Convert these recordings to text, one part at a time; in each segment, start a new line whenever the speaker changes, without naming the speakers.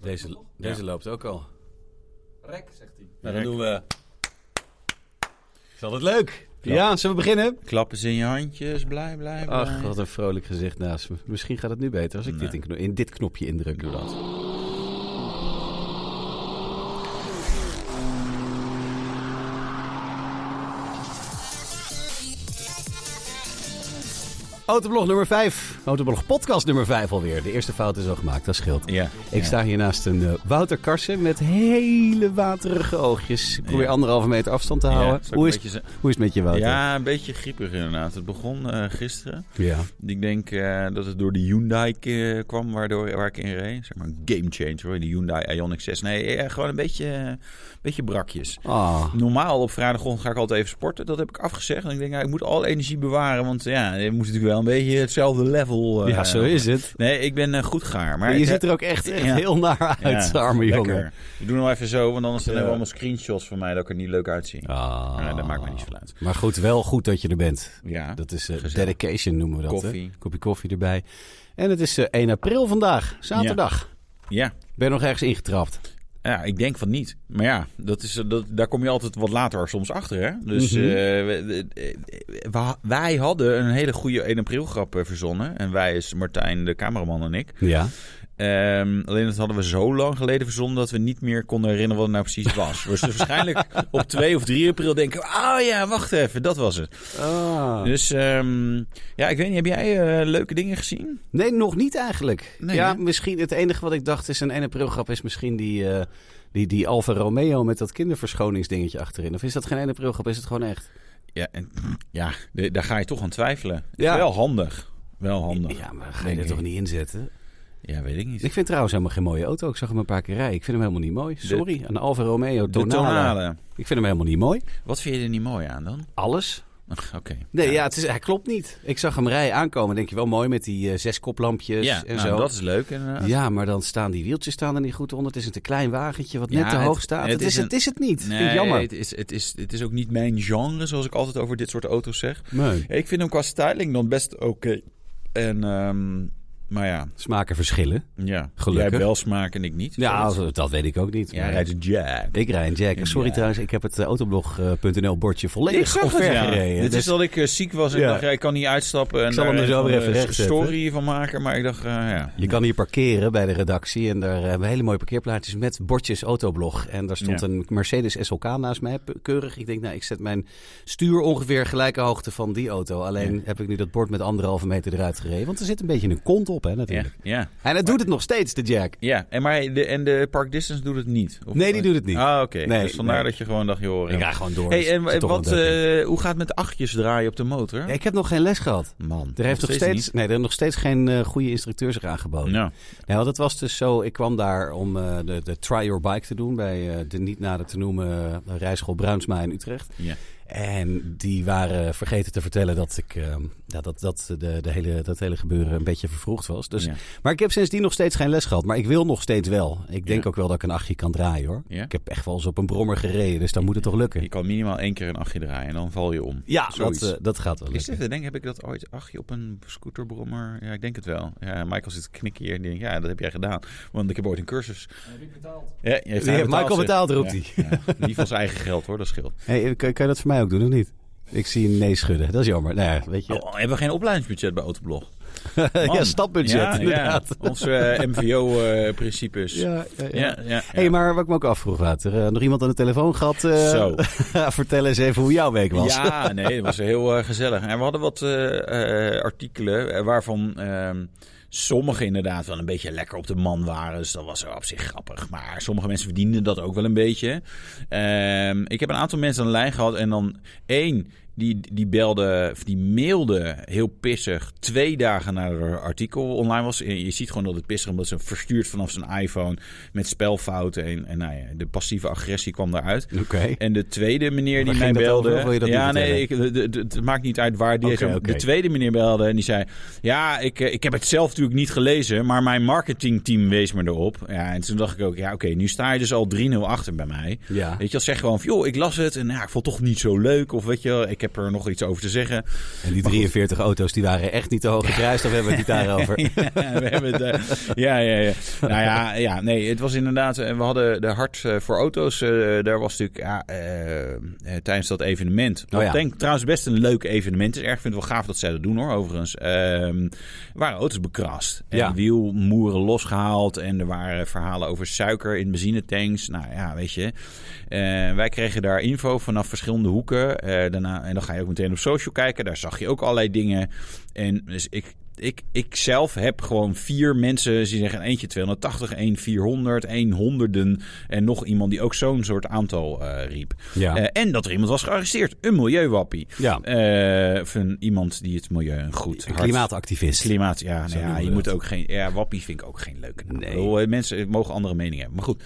Deze, deze loopt ook al.
Rek, zegt hij.
Nou, dan doen we... Is altijd leuk. Ja, zullen we beginnen?
Klappen ze in je handjes, blij, blij, blij.
Ach, wat een vrolijk gezicht naast me. Misschien gaat het nu beter als ik dit in, kno- in dit knopje indruk. Doe dat. Autoblog nummer 5. Autoblog podcast nummer 5 alweer. De eerste fout is al gemaakt, dat scheelt.
Ja.
Ik
ja.
sta hier naast een eh, Wouter Karsen met hele waterige oogjes. Ik probeer
Ja.
anderhalve meter afstand te
Ja,
houden.
zal ik
hoe,
een
is, Oh,
beetje ze-
hoe is het met je, Wouter?
Ja, een beetje griepig inderdaad. Het begon eh, gisteren.
Ja.
Ik denk eh, dat het door de Hyundai eh, kwam waardoor, waar ik in reed. Zeg maar een game changer, hoor. de Hyundai Ioniq 6. Nee, eh, gewoon een beetje, eh, beetje brakjes.
Ah.
Normaal op vrijdagochtend ga ik altijd even sporten. Dat heb ik afgezegd. En ik denk, nou, ik moet al energie bewaren. Want ja, je moet natuurlijk wel een beetje hetzelfde level. eh,
ja, zo is het.
Nee, ik ben eh, goed gaar. Maar
Maar je
ik-
ziet er ook echt, echt
Ja.
heel naar uit,
Ja,
arme
lekker.
jongen.
Ik doe nog even zo, want anders zijn
Ja.
er allemaal screenshots van mij dat ik er niet leuk uitzie.
Ah.
Maar dat maakt me niet veel uit.
Maar goed, wel goed dat je er bent.
Ja.
Dat is eh,
Gezellig.
dedication noemen we dat.
Koffie.
Hè? Kopje koffie erbij. En het is eh, 1 april vandaag, zaterdag.
ja.
Ben je nog ergens ingetrapt?
Ja, ik denk van niet. Maar ja, dat is, dat, daar kom je altijd wat later soms achter. Hè? Dus
Mhm.
eh, we- eh, we- wij hadden een hele goede 1 april grap eh, verzonnen. En wij is Martijn, de cameraman en ik.
Ja.
Ehm, alleen dat hadden we zo lang geleden verzonnen dat we niet meer konden herinneren wat het nou precies was. Dus waarschijnlijk op 2 of 3 april denken we, oh ja, wacht even, dat was het.
Ah.
Dus ehm, ja, ik weet niet, heb jij eh, leuke dingen gezien?
Nee, nog niet eigenlijk.
Nee,
ja,
hè?
misschien het enige wat ik dacht is een 1 april grap is misschien die, eh, die, die Alfa Romeo met dat kinderverschoningsdingetje achterin. Of is dat geen 1 april grap, is het gewoon echt?
Ja, en, ja de- daar ga je toch aan twijfelen.
Ja.
Wel handig. Wel handig.
Ja, maar ga je
Denk
er
ik.
toch niet inzetten?
Ja, weet ik niet.
Ik vind trouwens helemaal geen mooie auto. Ik zag hem een paar keer rijden. Ik vind hem helemaal niet mooi. Sorry, een Alfa Romeo
De
Tonale.
tonale.
Ik vind hem helemaal niet mooi.
Wat vind je er niet mooi aan dan?
Alles.
Ach, Oké.
Nee, ja, het is, hij klopt niet. Ik zag hem rijden aankomen. Denk je wel mooi met die eh, zes koplampjes
Ja,
en
nou,
zo.
dat is leuk. inderdaad.
Ja, maar dan staan die wieltjes staan er niet goed onder. Het is een te klein wagentje wat
Ja,
net te
het-
hoog staat. Het,
het
is,
is
het
een-
is het niet.
Nee,
Vind ik jammer.
Het is, het, is, het is ook niet mijn genre, zoals ik altijd over dit soort auto's zeg.
Nee.
Ik vind hem qua styling dan best oké. En, ehm, maar ja,
Smaken verschillen.
ja.
Gelukkig.
Jij hebt wel smaak en ik niet.
Ja,
Zoiets.
dat weet ik ook niet.
Jij
maar-
rijdt een Jack.
Ik rijd een Jack. Sorry
Ja.
trouwens, ik heb het eh, autoblog.nl bordje
Ik
volledig
zag het,
omver
ja.
gereden.
Dit
Dus-
is dat ik eh, ziek was en
Ja.
dacht, ja, ik kan niet uitstappen. En
Ik zal hem
daar
er zo
een
weer even
eh,
recht zetten.
story van maken, maar ik dacht, eh, ja.
Je kan hier parkeren bij de redactie en daar hebben we hele mooie parkeerplaatjes met bordjes autoblog. En daar stond
Ja.
een Mercedes SLK naast mij, pe- keurig. Ik denk, nou, ik zet mijn stuur ongeveer gelijke hoogte van die auto. Alleen heb ik nu dat bord met anderhalve meter eruit gereden, want er zit een beetje een kont op, hè,
Ja,
natuurlijk.
ja.
En dat doet het nog steeds, de Jack.
ja. En, maar de, en de Park Distance doet het niet? Of-
Nee, die doet het niet.
Ah, oké.
Nee,
dus vandaar
nee.
dat je gewoon dacht, joh.
Ik
ja.
ga gewoon door.
Hey,
dus
en
het is toch
wat,
wel leuk.
eh, hoe gaat het met de achtjes draaien op de motor?
Nee, ik heb nog geen les gehad.
Man,
Er heeft nog steeds,
niet.
nee, er heeft nog steeds geen eh, goede instructeur zich aangeboden.
Nou,
Ja, want het was dus zo. Ik kwam daar om eh, de, de Try Your Bike te doen bij eh, de niet nader te noemen eh, rijschool Bruinsma in Utrecht.
ja.
En die waren vergeten te vertellen dat ik eh, ja, dat, dat, de, de hele, dat hele gebeuren een beetje vervroegd was. Dus,
Ja.
Maar ik heb sindsdien nog steeds geen les gehad. Maar ik wil nog steeds wel. Ik denk
Ja.
ook wel dat ik een achtje kan draaien hoor.
Ja.
Ik heb echt wel eens op een brommer gereden, dus dan moet het toch
Je
lukken.
kan minimaal één keer een achtje draaien en dan val je om.
Ja, dat,
Zoiets.
eh, dat gaat wel
Is
lukken.
dit te denken? Heb ik dat ooit achtje op een scooterbrommer? Ja, ik denk het wel. Ja, Michael zit te knikken hier en die denkt, ja, dat heb jij gedaan. Want ik heb ooit een cursus.
En Riep betaald.
Ja, je heeft
Die
hij
heeft Michael
zeg.
betaald, roept
Ja, ja. Die van zijn eigen geld, hoor. Dat scheelt.
Hey, kan, kan je dat voor mij ook doen of niet? Ik zie een nee schudden. Dat is jammer. Nou ja, weet je.
Oh, hebben we geen opleidingsbudget bij Autoblog? Man.
ja, stapbudget
Ja, eh, ja.
inderdaad.
Onze MVO-principes. ja.
Ja, ja, ja.
Ja, ja.
Hé, hey, maar wat ik me ook afvroeg, Wouter. eh, nog iemand aan de telefoon gehad? eh,
Zo.
Vertel eens even hoe jouw week was.
Ja, nee, dat was heel eh, gezellig. En we hadden wat eh, eh, artikelen eh, waarvan ehm sommige inderdaad wel een beetje lekker op de man waren. Dus dat was op zich grappig. Maar sommige mensen verdienden dat ook wel een beetje. Ehm, ik heb een aantal mensen aan de lijn gehad en dan één... Die, die belde, of die mailde heel pissig twee dagen nadat er een artikel online was. En Je ziet gewoon dat het pissig omdat ze verstuurd vanaf zijn iPhone met spelfouten. En, en nou ja, de passieve agressie kwam daaruit.
Oké.
En de tweede meneer
Waar
die mij
ging dat
belde.
over? Of wil je dat
ja,
niet
nee, ik, de- de- de- het maakt niet uit waar die
Oké,
is.
oké.
De tweede meneer belde en die zei: Ja, ik, eh, ik heb het zelf natuurlijk niet gelezen, maar mijn marketingteam wees me erop. Ja, en toen dacht ik ook: Ja, oké, nu sta je dus al 3-0 achter bij mij.
Ja.
Weet je wel, zeg gewoon van, joh, ik las het en ja, ik vond het toch niet zo leuk. Of weet je wel, ik, heb er nog iets over te zeggen.
En die 43 auto's die waren echt niet te hoog gekruist, of hebben we het niet daarover?
Ja, we hebben het, eh, ja, ja, ja. Nou ja, ja, nee, het was inderdaad... eh, We hadden de Hart eh, voor Auto's. eh, daar was natuurlijk ja, eh, eh, tijdens dat evenement...
Oh ja.
Ik denk trouwens best een leuk evenement. is erg, ik vind het wel gaaf dat zij dat doen hoor, overigens. Ehm, er waren auto's bekrast. En
Ja.
wielmoeren losgehaald. En er waren verhalen over suiker in benzinetanks. Nou ja, weet je. Eh, wij kregen daar info vanaf verschillende hoeken. Eh, daarna, en dan ga je ook meteen op social kijken. Daar zag je ook allerlei dingen. En dus ik... Ik, ik zelf heb gewoon vier mensen, die zeggen eentje 280, één 400, één honderden en nog iemand die ook zo'n soort aantal eh, riep.
Ja.
Eh, en dat er iemand was gearresteerd, een milieuwappie.
Ja,
Eh, of een, iemand die het milieu een goed hart-
klimaatactivist.
Klimaat, ja, nou
Zo
ja
noemen we
je moet
dat.
ook geen. Ja, wappie vind ik ook geen leuke naam.
Nee.
Ik bedoel, eh, Mensen mogen andere meningen hebben. Maar goed,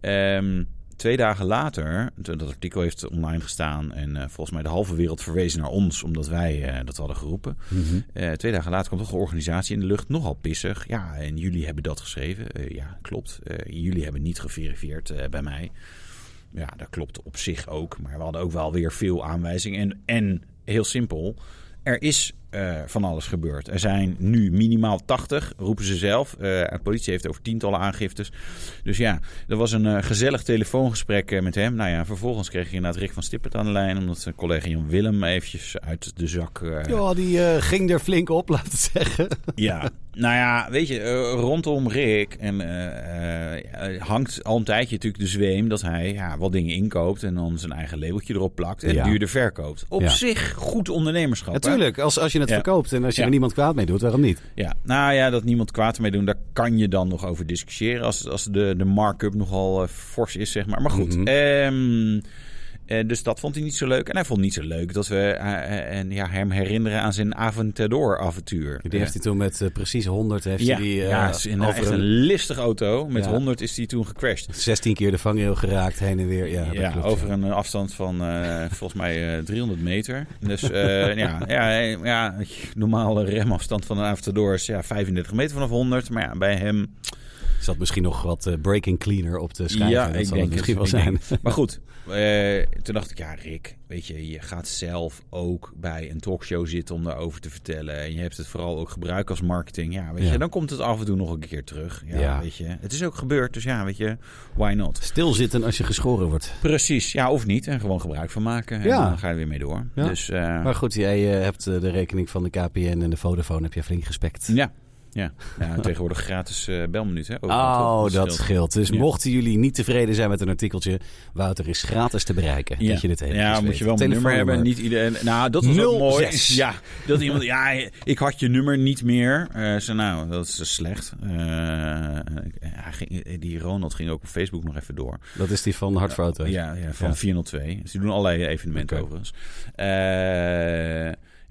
Ehm, twee dagen later, toen dat artikel heeft online gestaan en eh, volgens mij de halve wereld verwezen naar ons omdat wij eh, dat hadden geroepen.
Mhm.
Eh, twee dagen later komt toch een organisatie in de lucht, nogal pissig. Ja, en jullie hebben dat geschreven. Eh, ja, klopt. Eh, jullie hebben niet geverifieerd eh, bij mij. Ja, dat klopt op zich ook. Maar we hadden ook wel weer veel aanwijzingen. En, en heel simpel, er is eh, van alles gebeurd. Er zijn nu minimaal 80, roepen ze zelf. Eh, de politie heeft over tientallen aangiftes. Dus ja, er was een eh, gezellig telefoongesprek eh, met hem. Nou ja, vervolgens kreeg je inderdaad Rick van Stippert aan de lijn... omdat zijn collega Jan Willem eventjes uit de zak... eh,
Ja, die eh, ging er flink op, laten we zeggen.
ja, nou ja, weet je, eh, rondom Rick en, eh, eh, hangt al een tijdje natuurlijk de zweem dat hij ja, wat dingen inkoopt en dan zijn eigen labeltje erop plakt en
Ja.
duurder verkoopt. Op
Ja.
zich goed ondernemerschap. hè?
Natuurlijk, als, als je het
Ja.
verkoopt en als je
Ja.
er niemand kwaad mee doet, waarom niet?
Ja, nou ja, dat niemand kwaad mee doen, daar kan je dan nog over discussiëren als, als de, de markup nogal eh, fors is, zeg maar. Maar goed,
Mhm.
ehm, eh, dus dat vond hij niet zo leuk. En hij vond het niet zo leuk dat we eh, eh, en, ja, hem herinneren aan zijn Aventador-avontuur.
Die heeft hij toen met eh, precies 100 heeft hij die, eh,
ja, het is een,
over
echt een
een
listig auto. Met
Ja.
100 is die toen gecrashed.
16 keer de vangrail geraakt, heen en weer. Ja,
Ja,
dat klopt,
over
ja.
een eh, afstand van eh, volgens mij eh, 300 meter. Dus eh, ja, ja, eh, ja, normale remafstand van een Aventador is ja, 35 meter vanaf 100. Maar ja, bij hem...
Zat misschien nog wat eh, breaking cleaner op de schijf.
ja,
dat zal het misschien wel
ik
zijn.
denk het. Maar goed, eh, toen dacht ik, ja Rick, weet je, je gaat zelf ook bij een talkshow zitten om daarover te vertellen. En je hebt het vooral ook gebruikt als marketing. Ja, weet
Ja.
je, dan komt het af en toe nog een keer terug. Ja,
Ja.
weet je. Het is ook gebeurd, dus ja, weet je, why not?
Stilzitten als je geschoren wordt.
Precies, ja, of niet. En gewoon gebruik van maken. En
Ja.
dan ga je weer mee door.
Ja.
Dus eh,
Maar goed, jij eh, hebt eh, de rekening van de KPN en de Vodafone heb je flink gespekt.
ja. Ja. ja, tegenwoordig gratis eh belminuut. Hè, overal,
Oh,
toch?
dat
scheelt.
scheelt. Dus
Ja.
mochten jullie niet tevreden zijn met een artikeltje, Wouter is gratis te bereiken.
Ja,
Dat je dit eventjes
ja moet
weet.
je wel een nummer hebben. Niet iedereen. Nou, dat was ook mooi.
06.
Ja, dat iemand. Ja, ik had je nummer niet meer. Eh ze, nou, dat is slecht. Eh, hij ging, die Ronald ging ook op Facebook nog even door.
Dat is die van Hart voor Auto's.
Ja, ja van
Ja.
402. Ze doen allerlei evenementen
Oké.
overigens. Eh,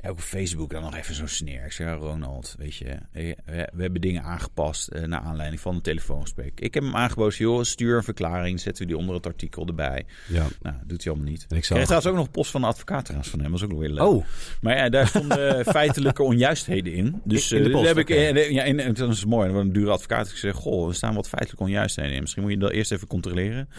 ja, ook op Facebook dan nog even zo'n sneer. Ik zeg, ja, Ronald, weet je, eh, we, we hebben dingen aangepast eh, naar aanleiding van een telefoongesprek. Ik heb hem aangeboden, joh, stuur een verklaring, zetten we die onder het artikel erbij.
Ja.
Nou, doet hij allemaal niet.
En ik
Ik
zal...
kreeg trouwens ook nog post van de advocaat trouwens van hem. Dat is ook nog weer leuk.
Oh,
Maar ja, daar stonden feitelijke onjuistheden in. Dus
In de
eh,
post,
daar heb ik,
oké.
eh, ja, en, en dat is mooi. Dan een dure advocaat. Ik zeg, goh, er staan wat feitelijke onjuistheden in. Misschien moet je dat eerst even controleren.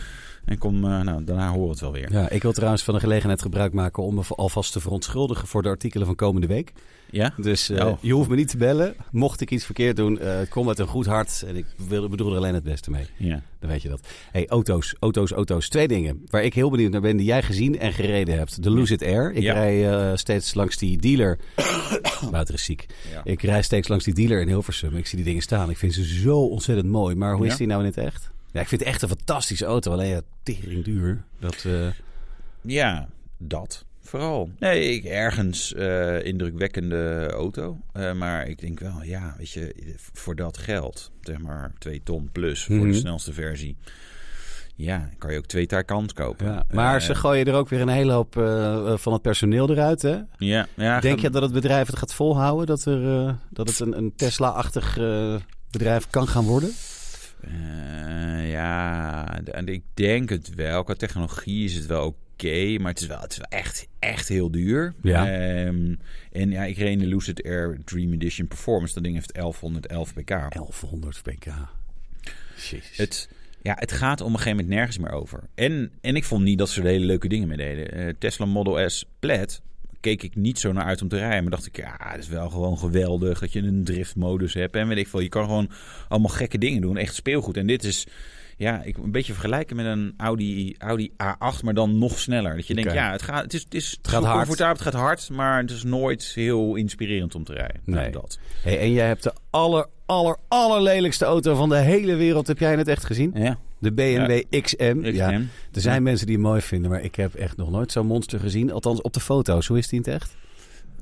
En kom, eh, nou, daarna horen we het wel weer.
ja, ik wil trouwens van de gelegenheid gebruik maken om me alvast te verontschuldigen voor de artikelen van komende week.
Ja?
Dus eh,
Oh.
je hoeft me niet te bellen. Mocht ik iets verkeerd doen, eh, kom met een goed hart. En ik wil, bedoel er alleen het beste mee.
Ja.
Dan weet je dat. hey, auto's, auto's, auto's. Twee dingen waar ik heel benieuwd naar ben die jij gezien en gereden hebt. De Lucid Air. Ik
Ja.
rij eh, steeds langs die dealer. Wouter is ziek.
Ja.
Ik rij steeds langs die dealer in Hilversum. Ik zie die dingen staan. Ik vind ze zo ontzettend mooi. Maar hoe
Ja?
is die nou in het echt? Ja, ik vind het echt een fantastische auto. Alleen ja, tering duur. Dat, eh,
Ja, dat vooral. Nee, ik ergens eh, indrukwekkende auto. Eh, maar ik denk wel, ja, weet je, voor dat geld, zeg maar 2 ton plus voor
Mhm.
de snelste versie. Ja, kan je ook twee taar kant kopen.
ja. Maar
Eh,
ze gooien er ook weer een hele hoop eh, van het personeel eruit, hè?
Ja, ja
Denk je dat het bedrijf het gaat volhouden? Dat, er, eh, dat het een, een Tesla-achtig eh, bedrijf kan gaan worden?
Eh, ja, de- en ik denk het wel. Qua technologie is het wel oké, maar het is wel, het is wel echt, echt heel duur.
Ja.
Ehm, en ja, ik reed in de Lucid Air Dream Edition Performance. Dat ding heeft 1111 pk.
1100 pk. Jezus.
Het, ja, het gaat op een gegeven moment nergens meer over. En, en ik vond niet dat ze er hele leuke dingen mee deden. Eh, Tesla Model S Plaid keek ik niet zo naar uit om te rijden. Maar dacht ik, ja, het is wel gewoon geweldig dat je een driftmodus hebt. En weet ik veel, je kan gewoon allemaal gekke dingen doen. Echt speelgoed. En dit is, ja, ik een beetje vergelijken met een Audi, Audi A8, maar dan nog sneller. Dat je denkt,
Oké.
ja, het, gaat, het is, het is
gaat hard.
comfortabel, het gaat hard. Maar het is nooit heel inspirerend om te rijden.
Nee.
Nou, dat.
Hey, en jij hebt de aller, aller, allerlelijkste auto van de hele wereld. Heb jij het echt gezien?
Ja,
De BMW XM.
ik
Ja.
ken.
Er zijn mensen die het mooi vinden, maar ik heb echt nog nooit zo'n monster gezien. Althans, op de foto's. Hoe is die in het echt?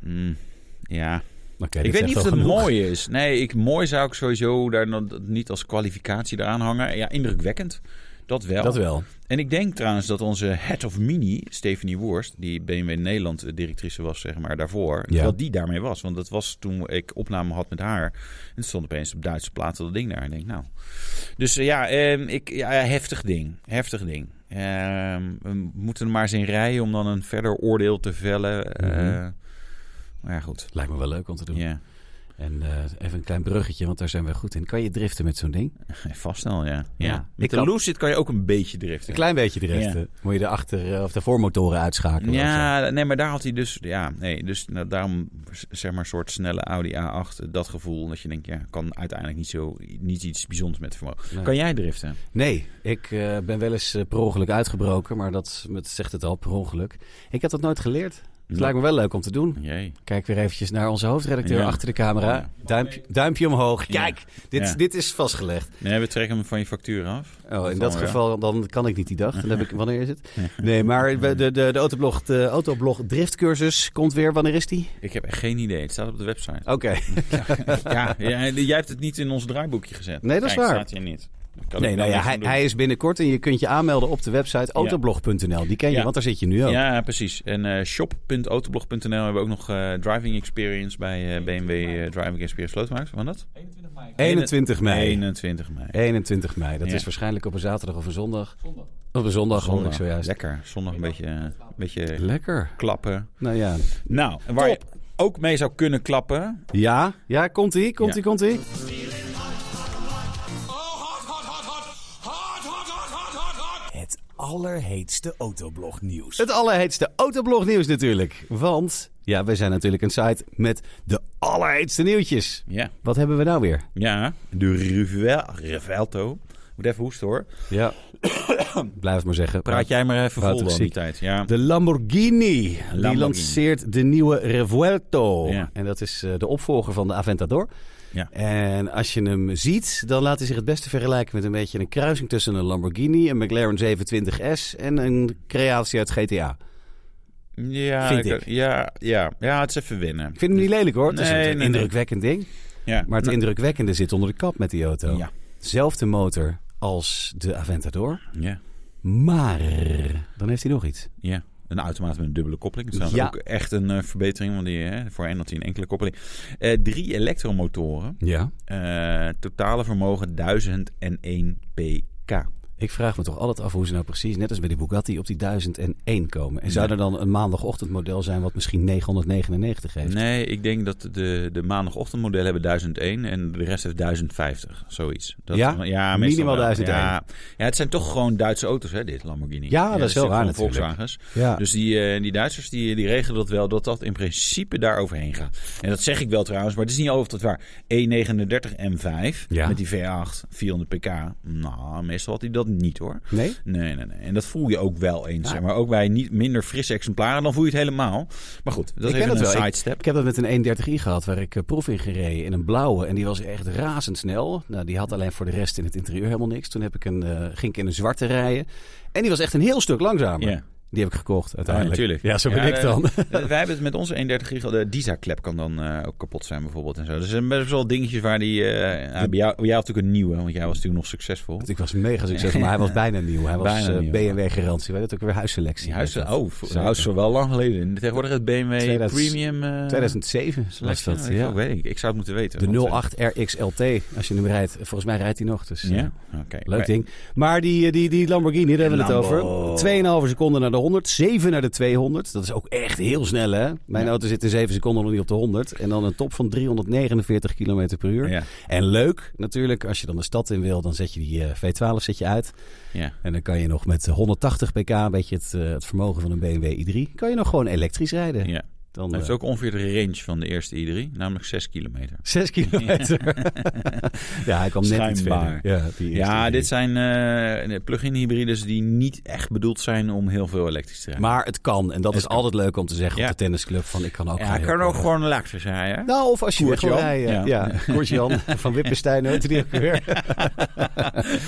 Mm, ja.
Oké,
ik
dit
weet
is
niet
echt
of
wel
het
genoeg.
mooi is. Nee, ik, mooi zou ik sowieso daar dan niet als kwalificatie eraan hangen. Ja, indrukwekkend. Dat wel.
Dat wel.
En ik denk trouwens dat onze head of mini, Stephanie Worst, die BMW Nederland eh, directrice was, zeg maar, daarvoor,
Ja.
dat die daarmee was. Want dat was toen ik opname had met haar. En het stond opeens op Duitse platen dat ding daar. En ik denk, nou. Dus eh, ja, ehm, ik, ja, heftig ding. Heftig ding. Ehm, we moeten er maar eens in rijden om dan een verder oordeel te vellen. Eh,
Mhm.
maar ja, goed.
Lijkt me wel leuk om te
Ja.
doen. En eh, even een klein bruggetje, want daar zijn we goed in. Kan je driften met zo'n ding?
Ja, Vast wel, ja. ja.
Ja.
Met
Ik
de
kan-
Lucid kan je ook een beetje driften.
Een klein beetje driften. Moet je de achter- eh, of de voormotoren uitschakelen? of
Ja, nee, maar daar had hij dus... Ja, nee, dus nou, daarom z- zeg maar een soort snelle Audi A8. Dat gevoel dat je denkt, ja, kan uiteindelijk niet, zo, niet iets bijzonders met vermogen.
zo? Nee.
Kan jij driften?
Nee, ik eh, ben wel eens eh, per ongeluk uitgebroken, maar dat dat zegt het al, per ongeluk. Ik heb dat nooit geleerd. Het lijkt me wel leuk om te doen.
Jee.
Kijk weer eventjes naar onze hoofdredacteur
Ja.
achter de camera.
Ja.
Duimpje, duimpje omhoog.
Ja.
Kijk, dit,
Ja.
dit is vastgelegd.
Nee, we trekken hem van je factuur af.
Oh, in
Dan
dat
weer.
geval dan kan ik niet die dag. Dan heb ik, wanneer is het? Nee, maar we- de, de, de, autoblog, de autoblog driftcursus komt weer. Wanneer is die?
Ik heb echt geen idee. Het staat op de website.
Oké.
ja, ja, jij hebt het niet in ons draaiboekje gezet.
Nee, dat is
Kijk,
waar.
staat hier niet. Dat kan
Nee,
ik
nou
wel
ja,
even
hij,
doen.
hij is binnenkort en je kunt je aanmelden op de website autoblog.nl. Die ken je,
Ja.
want daar zit je nu ook.
Ja, precies. En eh, shop.autoblog.nl hebben we ook nog eh, driving experience bij eh, BMW eh, Driving Experience Slootmaak. Van dat?
21 mei.
21 mei.
21 mei.
21 mei. Dat
Ja.
is waarschijnlijk op een zaterdag of een zondag.
Zondag.
Op een zondag, zondag. hoor
Zondag.
ik zojuist.
Lekker. Zondag een beetje, een beetje
Lekker.
klappen.
Nou ja.
Nou, en waar je ook mee zou kunnen klappen.
Ja, ja komt-ie, komt-ie, komt-ie.
Het allerheetste autoblog nieuws.
Het allerheetste autoblognieuws natuurlijk. Want, ja, wij zijn natuurlijk een site met de allerheetste nieuwtjes.
Ja.
Wat hebben we nou weer?
Ja. De Rivel- Rivelto. Moet even hoesten hoor.
Ja. Blijf het maar zeggen.
Praat jij maar even
Wouter
vol
is
dan
ziek.
die tijd. Ja.
De Lamborghini, die
Lamborghini.
lanceert de nieuwe Revuelto.
Ja.
En dat is eh, de opvolger van de Aventador.
Ja.
En als je hem ziet, dan laat hij zich het beste vergelijken met een beetje een kruising tussen een Lamborghini, een McLaren 720S en een creatie uit GTA.
Ja,
Vind
ik- Ja, ja. ja, het is even winnen.
Ik vind hem niet lelijk hoor. Het is
Nee,
een
nee, nee.
indrukwekkend ding.
Ja. Nou,
Maar het indrukwekkende zit onder de kap met die auto.
Ja.
Zelfde motor als de Aventador.
Ja.
Maar dan heeft hij nog iets.
Ja, een automaat met een dubbele koppeling. Dat is
Ja.
ook echt een eh, verbetering, want die, hè, voorheen had hij een enkele koppeling. Eh, drie elektromotoren,
Ja.
Eh, totale vermogen 1001 pk.
Ik vraag me toch altijd af hoe ze nou precies, net als bij die Bugatti, op die 1001 komen. En zou er dan een maandagochtendmodel zijn wat misschien 999 heeft?
Nee, ik denk dat de, de maandagochtendmodellen hebben 1001 en de rest heeft 1050, zoiets. Dat,
Ja?
meestal
Minimaal
wel.
1001.
Ja. ja, het zijn toch gewoon Duitse auto's, hè, dit Lamborghini.
Ja, dat is heel
zijn
waar
gewoon
natuurlijk.
Volkswagens.
Ja.
Dus die, eh, die Duitsers die, die regelen dat wel, dat dat in principe daar overheen gaat. En dat zeg ik wel trouwens, maar het is niet altijd waar. E39 M5
Ja.
met die V8, 400 pk. Nou, meestal had hij dat niet hoor.
Nee?
Nee, nee, nee. En dat voel je ook wel eens. Zeg maar ook bij niet minder frisse exemplaren, dan voel je het helemaal. Maar goed, dat
Ik
is
ken
even
het
een
wel. Ik-
sidestep.
Ik heb dat met een 31i gehad, waar ik eh, proef in gereden in een blauwe. En die was echt razendsnel. Nou, die had alleen voor de rest in het interieur helemaal niks. Toen heb ik een, eh, ging ik in een zwarte rijden. En die was echt een heel stuk langzamer.
Ja.
Die heb ik gekocht uiteindelijk.
Ja, natuurlijk.
Ja, zo ben ik
eh,
dan.
eh, wij hebben het met onze 31 gig. De DISA-klep kan dan eh, ook kapot zijn bijvoorbeeld. En zo. Dus er zijn best wel dingetjes waar die... eh, nou, bij jou, jij had natuurlijk een nieuwe, want jij was natuurlijk nog succesvol.
Ik was mega succesvol, maar hij was bijna nieuw. Hij was
Bijna
eh,
nieuw.
BMW garantie. Weet het ook weer huisselectie.
Die huis,
Weet dat.
oh,
Zeker.
de huis is wel lang geleden. Tegenwoordig het BMW
2000
Premium... eh,
2007 was
Selection,
dat.
weet ik
Ja.
wel, weet ik. Ik zou het moeten weten.
De
want, eh,
08 RXLT, als je hem rijdt. Volgens mij rijdt hij nog. Dus, eh,
Ja, oké.
Leuk
Maar-
ding. Maar die, eh, die, die Lamborghini, daar hebben we het
Lambo.
over. 2,5 seconden naar de 100, 7 naar de 200. Dat is ook echt heel snel, hè? Mijn
Ja.
auto zit in 7 seconden nog niet op de 100. En dan een top van 349 km per uur.
Ja,
En leuk natuurlijk, als je dan de stad in wil, dan zet je die eh, V12 zet je uit.
ja.
En dan kan je nog met 180 pk, een beetje het, eh, het vermogen van een BMW i3, kan je nog gewoon elektrisch rijden.
ja.
Dan,
Hij heeft
eh,
ook ongeveer de range van de eerste i3, namelijk 6 kilometer.
Zes kilometer. ja, hij kwam net iets verder.
Schijnbaar.
Ja, die eerste
Ja,
keer.
dit zijn eh, plug-in hybrides die niet echt bedoeld zijn om heel veel elektrisch te rijden.
Maar het kan. En dat
Het
is
kan.
altijd leuk om te zeggen
Ja.
op de tennisclub. Van, ik kan ook
Ja,
gewoon
hij
heel
kan ook
kort.
gewoon elektrisch rijden. hè?
Nou, of als je weg
Koert
wil
Jan.
rijden. Ja.
Ja.
Koert Jan van Wippenstein. Hoort hij die ook weer?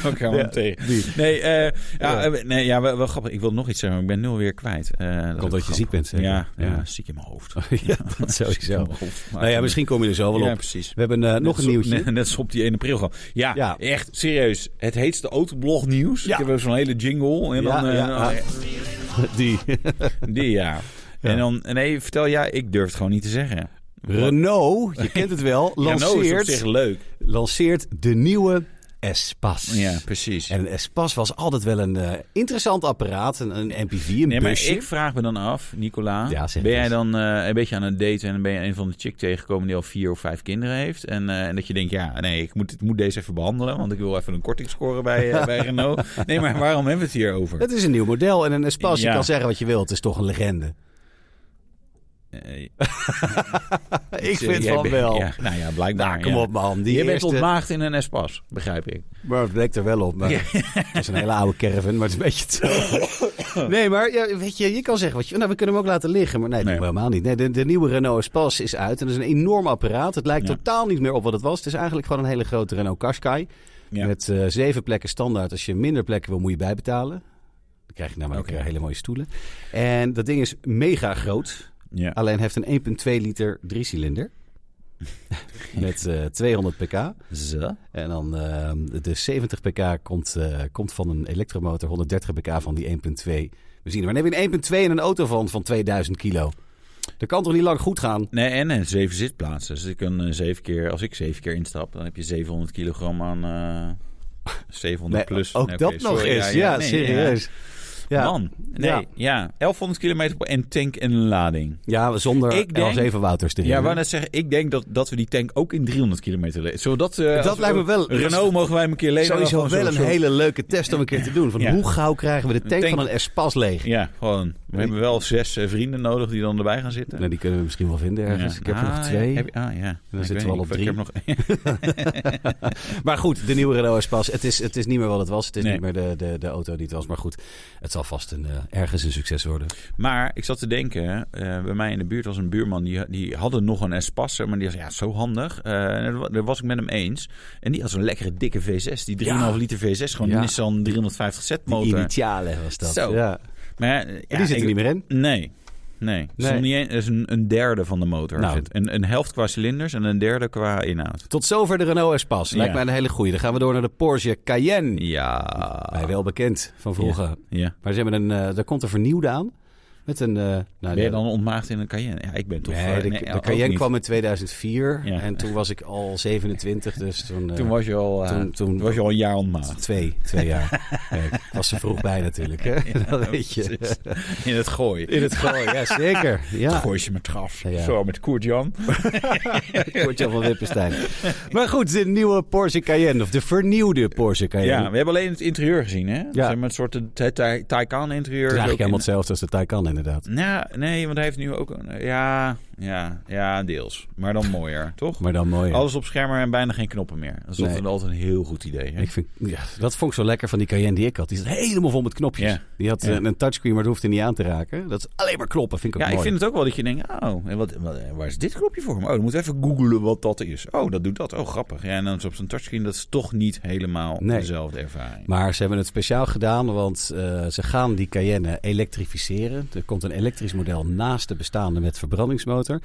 Ook helemaal tegen. Nee, eh, ja, eh, nee ja, wel, wel grappig. Ik wil nog iets zeggen, maar ik ben nul weer kwijt. Eh, dat
Komt
is
dat je
grappig.
ziek bent, zeg.
Ja, ja.
Ja.
ziek in mijn hoofd.
ja, dat
Ziek in
sowieso.
mijn hoofd. Maar
Nou ja, misschien kom je er zo wel
Ja,
op.
precies.
We hebben eh, nog
Net
een
zo-
nieuwtje.
Net, net zo op die 1 april gewoon. Ja,
Ja.
echt serieus. Het heetste autoblog nieuws.
Ja.
Ik heb ook zo'n hele jingle. En
Ja,
dan, eh,
ja, ja. Die
Die ja. En dan, nee, vertel jij, ik durf het gewoon niet te zeggen.
Renault, je kent het wel,
Renault is op
lanceert,
zich leuk.
lanceert de nieuwe Espas.
Ja, precies.
En een Espas was altijd wel een eh, interessant apparaat. Een, een MPV, een
Nee, maar
busje.
ik vraag me dan af, Nicola.
Ja, zeg
ben jij
eens.
dan eh, een beetje aan het daten en dan ben je een van de chick tegengekomen die al vier of vijf kinderen heeft? En, eh, en dat je denkt, ja, nee, ik moet, ik moet deze even behandelen, want ik wil even een korting scoren bij, eh, bij Renault. Nee, maar waarom hebben we het hier over?
Het is een nieuw model. En een Espas, je
Ja.
kan zeggen wat je wilt. Het is toch een legende.
Eh,
Ik
eh,
vind
jij
van
bent-
wel.
Ja, nou ja, blijkbaar.
Nou, kom
ja.
op man. Die
je bent
eerste-
ontmaagd in een S-pas, begrijp ik.
Maar het lijkt er wel op. Maar Het is een hele oude caravan, maar het is een beetje hetzelfde. Nee, maar ja, weet je, je kan zeggen wat je... Nou, we kunnen hem ook laten liggen, maar nee, dat
Nee.
doen we helemaal niet. Nee, de, de nieuwe Renault Espace is uit en dat is een enorm apparaat. Het lijkt
Ja.
totaal niet meer op wat het was. Het is eigenlijk gewoon een hele grote Renault Qashqai.
Ja.
Met eh, zeven plekken standaard. Als je minder plekken wil, moet je bijbetalen. Dan krijg je namelijk
Oké.
eh, hele mooie stoelen. En dat ding is mega groot.
Ja.
Alleen heeft een 1,2 liter driecilinder. Met eh, 200 pk.
Zo.
En dan eh, de 70 pk komt, eh, komt van een elektromotor, 130 pk van die 1.2 benzine. Maar dan heb je een 1.2 en een auto van, van 2000 kilo. Dat kan toch niet lang goed gaan?
Nee, en, en zeven zitplaatsen. Dus ik kan eh, zeven keer, als ik zeven keer instap, dan heb je 700 kilogram aan eh, 700
Nee,
plus.
ook
Nee, oké,
dat nog
sorry.
eens. Ja,
nee,
serieus. Ja.
Man, nee,
Ja.
ja. 1100 kilometer op en tank en een lading.
Ja, zonder
Ik denk-
L7 Wouters erin.
Ja, wou net zeggen, ik denk dat, dat we die tank ook in 300 kilometer leveren. Zodat, eh,
Dat
als we-
lijkt me wel-
Renault mogen wij hem een keer leveren.
Sowieso
Gewoon
wel
zo-
een
zo-
hele leuke test om een keer te doen. Van
Ja.
Hoe gauw krijgen we de tank,
tank-
van een Espas leeg?
Ja, gewoon. We hebben wel zes eh, vrienden nodig die dan erbij gaan zitten.
Nou, die kunnen we misschien wel vinden ergens.
Ja.
Ik heb er
Ah,
nog twee.
ja. Heb je- ah, ja. Ik
zitten
weet
we al
niet,
op
ik
drie.
heb nog
Maar goed, de nieuwe Renault Espas. Het is, het is niet meer wat het was. Het is
Nee.
niet meer de, de, de auto die het was. Maar goed, het zal vast een, eh, ergens een succes worden.
Maar ik zat te denken, eh, bij mij in de buurt was een buurman die, die hadden nog een Espace, maar die zei ja, zo handig. Eh, en dat wa- daar was ik met hem eens. En die had zo'n lekkere dikke V6, die 3,5 liter V6, gewoon
Ja.
Nissan 350 Z
Die
motor.
initialen was dat.
Zo.
Ja.
Maar eh, ja,
die zit er
ik-
niet meer in.
Nee. Nee, Het is
Nee.
nog niet een, het is een, een derde van de motor.
Nou.
Zit Een, een helft qua cilinders en een derde qua inhoud.
Tot zover de Renault Espace. Lijkt
Ja.
mij een hele goeie. Dan gaan we door naar de Porsche Cayenne.
Ja.
Mij wel bekend van vroeger.
ja.
Maar ze hebben een, eh, daar komt een vernieuwde aan. Met een... eh, nou,
Ben je
de-
dan ontmaagd in een Cayenne? Ja, ik ben toch...
Nee,
eh,
de,
nee,
de
ook
Cayenne
niet.
kwam in 2004.
Ja.
En toen was ik al 27. Dus toen... eh,
Toen was je al, eh,
toen-
toen,
toen-
was je al een jaar ontmaagd.
Twee, twee jaar. Ja, ik was er vroeg bij natuurlijk. Hè? dat weet je.
Precies. In het gooi.
In het gooi, ja zeker. Ja.
Gooi ze met gras.
Ja.
Zo, met Koert Jan.
Kortje van Wippenstein. Maar goed, de nieuwe Porsche Cayenne. Of de vernieuwde Porsche Cayenne.
Ja, we hebben alleen het interieur gezien, hè? Ja. Zeg maar een soort Ty- Ty- Taycan-interieur.
Het is
Ook
eigenlijk
in-
helemaal hetzelfde als de Taycan inderdaad.
Nou, nee, want hij heeft nu ook een... Ja, ja, ja, deels. Maar dan mooier, toch?
Maar dan mooier.
Alles op schermen en bijna geen knoppen meer. Dat is
Nee.
altijd- altijd een heel goed idee, hè?
Ik vind, ja, dat vond ik zo lekker van die Cayenne die ik had. Die zat helemaal vol met knopjes.
Ja.
Die had eh,
Ja.
een, een touchscreen, maar dat hoefde niet aan te raken. Dat is alleen maar kloppen, vind ik ook
Ja, ik
mooi.
vind het ook wel dat je denkt, oh, en wat, wat- waar is dit knopje voor? Oh, dan moet ik even googelen wat dat is. Oh, dat doet dat. Oh, grappig. Ja, en dan is op zo'n touchscreen, dat is toch niet helemaal
Nee.
dezelfde ervaring.
Maar ze hebben het speciaal gedaan, want eh, ze gaan die Cayenne elektrificeren. Er komt een elektrisch model naast de bestaande met verbrandingsmotor.
Ja.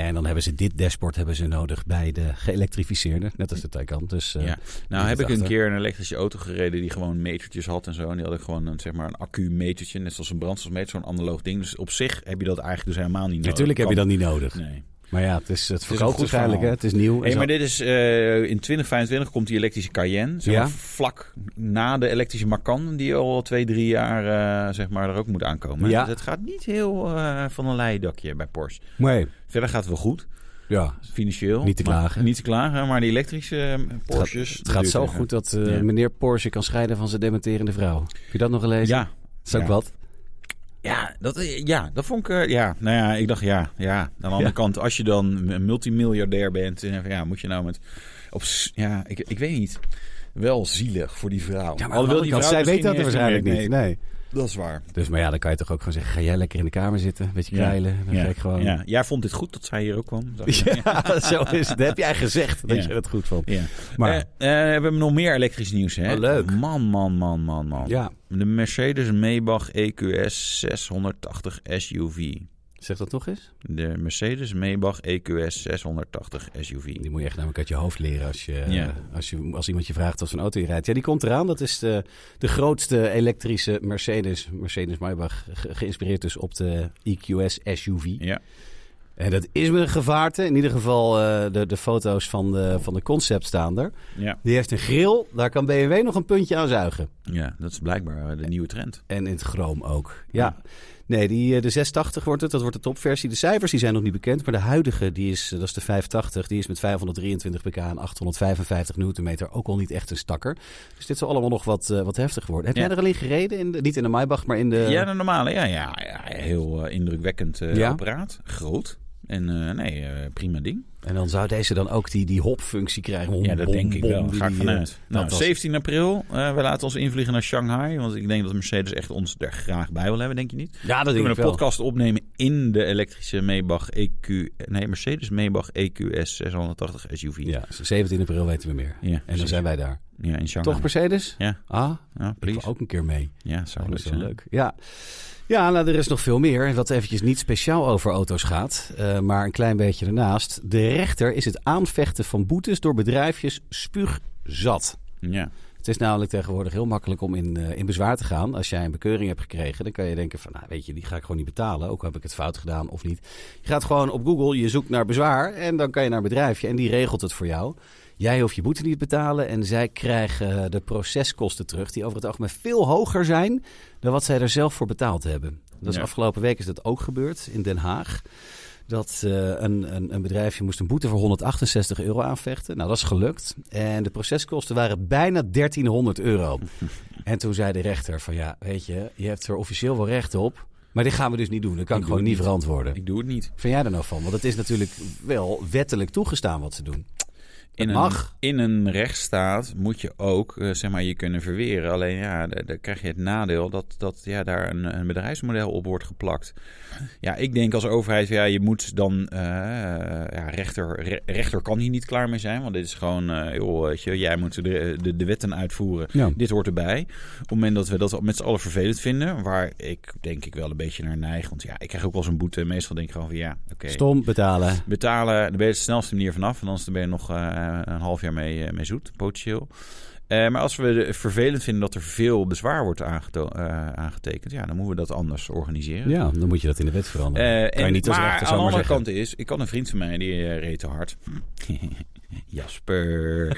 En dan hebben ze dit dashboard hebben ze nodig bij de geëlektrificeerde, net als de Taycan. Dus eh,
Ja. Nou
dat
heb ik
achter.
een keer een elektrische auto gereden die gewoon metertjes had en zo. En die had ik gewoon een, zeg maar een accu-metertje, net zoals een brandstofmeter, zo'n analoog ding. Dus op zich heb je dat eigenlijk dus helemaal niet nodig.
natuurlijk heb je dat niet nodig.
Kan- Nee.
Maar ja, het, is, het
een
verkoopt
goed
waarschijnlijk, hè?
verhaal.
het is nieuw. en
Hey,
zo.
maar dit is eh, in 2025 komt die elektrische Cayenne. Zeg maar
Ja.
Vlak na de elektrische Macan, die al twee, drie jaar eh, zeg maar, er ook moet aankomen.
Ja.
Dus het gaat niet heel eh, van een leien dakje bij Porsche.
Nee,
Verder gaat het wel goed,
ja,
financieel.
Niet te
Maar-
klagen.
Niet te klagen, maar die elektrische eh, Porsches...
Het gaat zo goed dat eh,
Ja.
meneer Porsche kan scheiden van zijn dementerende vrouw. Heb je dat nog gelezen?
Ja,
Dat is ook
ja.
wat.
Ja, dat, ja, dat vond ik... eh, Ja, nou ja, ik dacht ja. ja. Aan de andere
Ja.
kant, als je dan een multimiljardair bent... en ja, moet je nou met... Op, s- ja, ik, ik weet niet. Wel zielig voor die vrouw.
Ja, maar
Alhoewel
aan de
die
andere kant,
vrouw dus
zij weet
misschien
dat er
echt
waarschijnlijk
meer-
niet.
nee,
Nee.
Dat is waar.
Dus, maar ja, dan kan je toch ook gewoon zeggen, ga jij lekker in de kamer zitten, een beetje
Ja.
kwijlen. Dan
ja.
ga ik gewoon...
ja. Jij vond dit goed dat zij hier ook kwam? zag je?
Ja, zo is het. Dat heb jij gezegd dat
Ja.
je het goed vond.
Ja.
Maar-
Eh, eh, we hebben nog meer elektrisch nieuws, hè?
Oh, leuk.
Man, man, man, man, man.
Ja,
De Mercedes Maybach E EQS 680 SUV.
zeg dat nog eens.
De Mercedes Maybach E EQS 680 SUV.
Die moet je echt namelijk uit je hoofd leren als, je,
Ja.
als, je, als iemand je vraagt wat voor een auto je rijdt. Ja, die komt eraan. Dat is de, de grootste elektrische Mercedes, Mercedes Maybach, ge- geïnspireerd dus op de EQS SUV.
Ja.
En dat is met een gevaarte. In ieder geval eh, de, de foto's van de, van de concept staan er.
Ja.
Die heeft een grill, daar kan BMW nog een puntje aan zuigen.
ja, dat is blijkbaar eh, de nieuwe trend.
En in het chroom ook. Ja. Nee, die, eh, de 680 wordt het. Dat wordt de topversie. De cijfers die zijn nog niet bekend. Maar de huidige, die is, eh, dat is de 580. Die is met 523 pk en 855 newtonmeter ook al niet echt een stakker. Dus dit zal allemaal nog wat, eh, wat heftig worden. Heb
Ja.
jij er al in gereden? In de- niet in de Maybach, maar in de...
ja, de normale. Ja, ja, ja heel eh, indrukwekkend eh,
Eh, Ja.
apparaat. Groot. En eh, nee, eh, prima ding.
En dan zou deze dan ook die, die hopfunctie krijgen. Bom,
Ja, dat
bom,
denk ik
bom,
wel.
die-
Ga ik
die, eh,
vanuit. Nou,
dat was-
17 april. eh, we laten ons invliegen naar Shanghai. Want ik denk dat Mercedes echt ons er graag bij wil hebben, denk je niet?
Ja, dat
We
denk
kunnen
ik
een
wel.
podcast opnemen in de elektrische Maybach EQ... Nee, Mercedes Maybach E EQS 680 SUV.
Ja, 17 april weten we meer.
Ja,
En dan
precies.
zijn wij daar.
Ja, in Shanghai.
Toch Mercedes?
Ja.
Ah,
Ja,
ik wil
please.
ook een keer mee.
Ja, zou leuk
Oh, dat is
zijn.
wel leuk. Ja, ja nou, er is nog veel meer. En Wat eventjes niet speciaal over auto's gaat, eh, maar een klein beetje ernaast. De rechter is het aanvechten van boetes door bedrijfjes spuugzat.
Ja.
Het is namelijk tegenwoordig heel makkelijk om in, eh, in bezwaar te gaan. Als jij een bekeuring hebt gekregen, dan kan je denken van... Nou, weet je, die ga ik gewoon niet betalen. Ook al heb ik het fout gedaan of niet. Je gaat gewoon op Google, je zoekt naar bezwaar... en dan kan je naar een bedrijfje en die regelt het voor jou. Jij hoeft je boete niet te betalen... en zij krijgen eh, de proceskosten terug... die over het algemeen veel hoger zijn... dan wat zij er zelf voor betaald hebben. Dat is
Ja.
afgelopen week is dat ook gebeurd in Den Haag... Dat eh, een, een, een bedrijfje moest een boete voor 168 euro aanvechten. Nou, dat is gelukt. En de proceskosten waren bijna 1300 euro. en toen zei de rechter van ja, weet je, je hebt er officieel wel recht op. Maar dit gaan we dus niet doen. Dat kan ik,
Ik doe
gewoon niet
het niet.
verantwoorden.
Ik doe het niet.
Vind jij er nou van? Want het is natuurlijk wel wettelijk toegestaan wat ze doen.
In
Het mag.
Een, in een rechtsstaat moet je ook eh, zeg maar, je kunnen verweren. Alleen ja, daar, daar krijg je het nadeel dat, dat ja, daar een, een bedrijfsmodel op wordt geplakt. Ja, ik denk als overheid, ja, je moet dan... eh, ja, rechter, re- rechter kan hier niet klaar mee zijn. Want dit is gewoon, eh, joh, weet je, jij moet de, de, de wetten uitvoeren.
Ja.
Dit hoort erbij. Op het moment dat we dat met z'n allen vervelend vinden... waar ik denk ik wel een beetje naar neig. Want ja, ik krijg ook wel zo'n boete. En meestal denk ik gewoon van ja, oké
Stom betalen.
betalen. Dan ben je de snelste manier vanaf. En anders ben je nog eh, een half jaar mee, eh, mee zoet, potentieel. Eh, maar als we het vervelend vinden dat er veel bezwaar wordt aangeto- eh, aangetekend, ja, dan moeten we dat anders organiseren.
Ja, dan moet je dat in de wet veranderen.
Eh,
kan je niet als
maar
rechter
aan de
zomaar
andere
zeggen.
kant is, ik had een vriend van mij die eh, reed te hard. Jasper.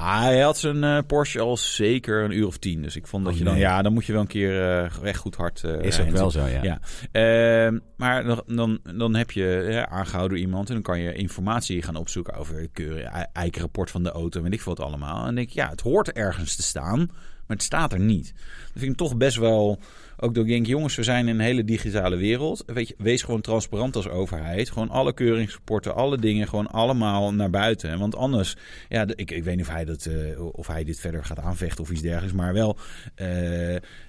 Hij had zijn eh, Porsche al zeker een uur of tien. Dus ik vond dat
Oh,
je dan,
nee.
ja, dan moet je wel een keer eh echt goed hard eh,
is ook
rijden.
wel zo, ja.
Ja. Ehm, maar dan, dan, dan heb je ja, aangehouden door iemand en dan kan je informatie gaan opzoeken over het keuren, ei- eikenrapport van de auto, weet ik veel wat allemaal. En dan denk ik, ja, het hoort ergens te staan, maar het staat er niet. Dat vind ik toch best wel, ook door denk, jongens, we zijn in een hele digitale wereld. Weet je, wees gewoon transparant als overheid. Gewoon alle keuringsrapporten, alle dingen, gewoon allemaal naar buiten. Want anders, ja, de- ik, ik weet niet of hij, dat, eh, of hij dit verder gaat aanvechten of iets dergelijks, maar wel eh,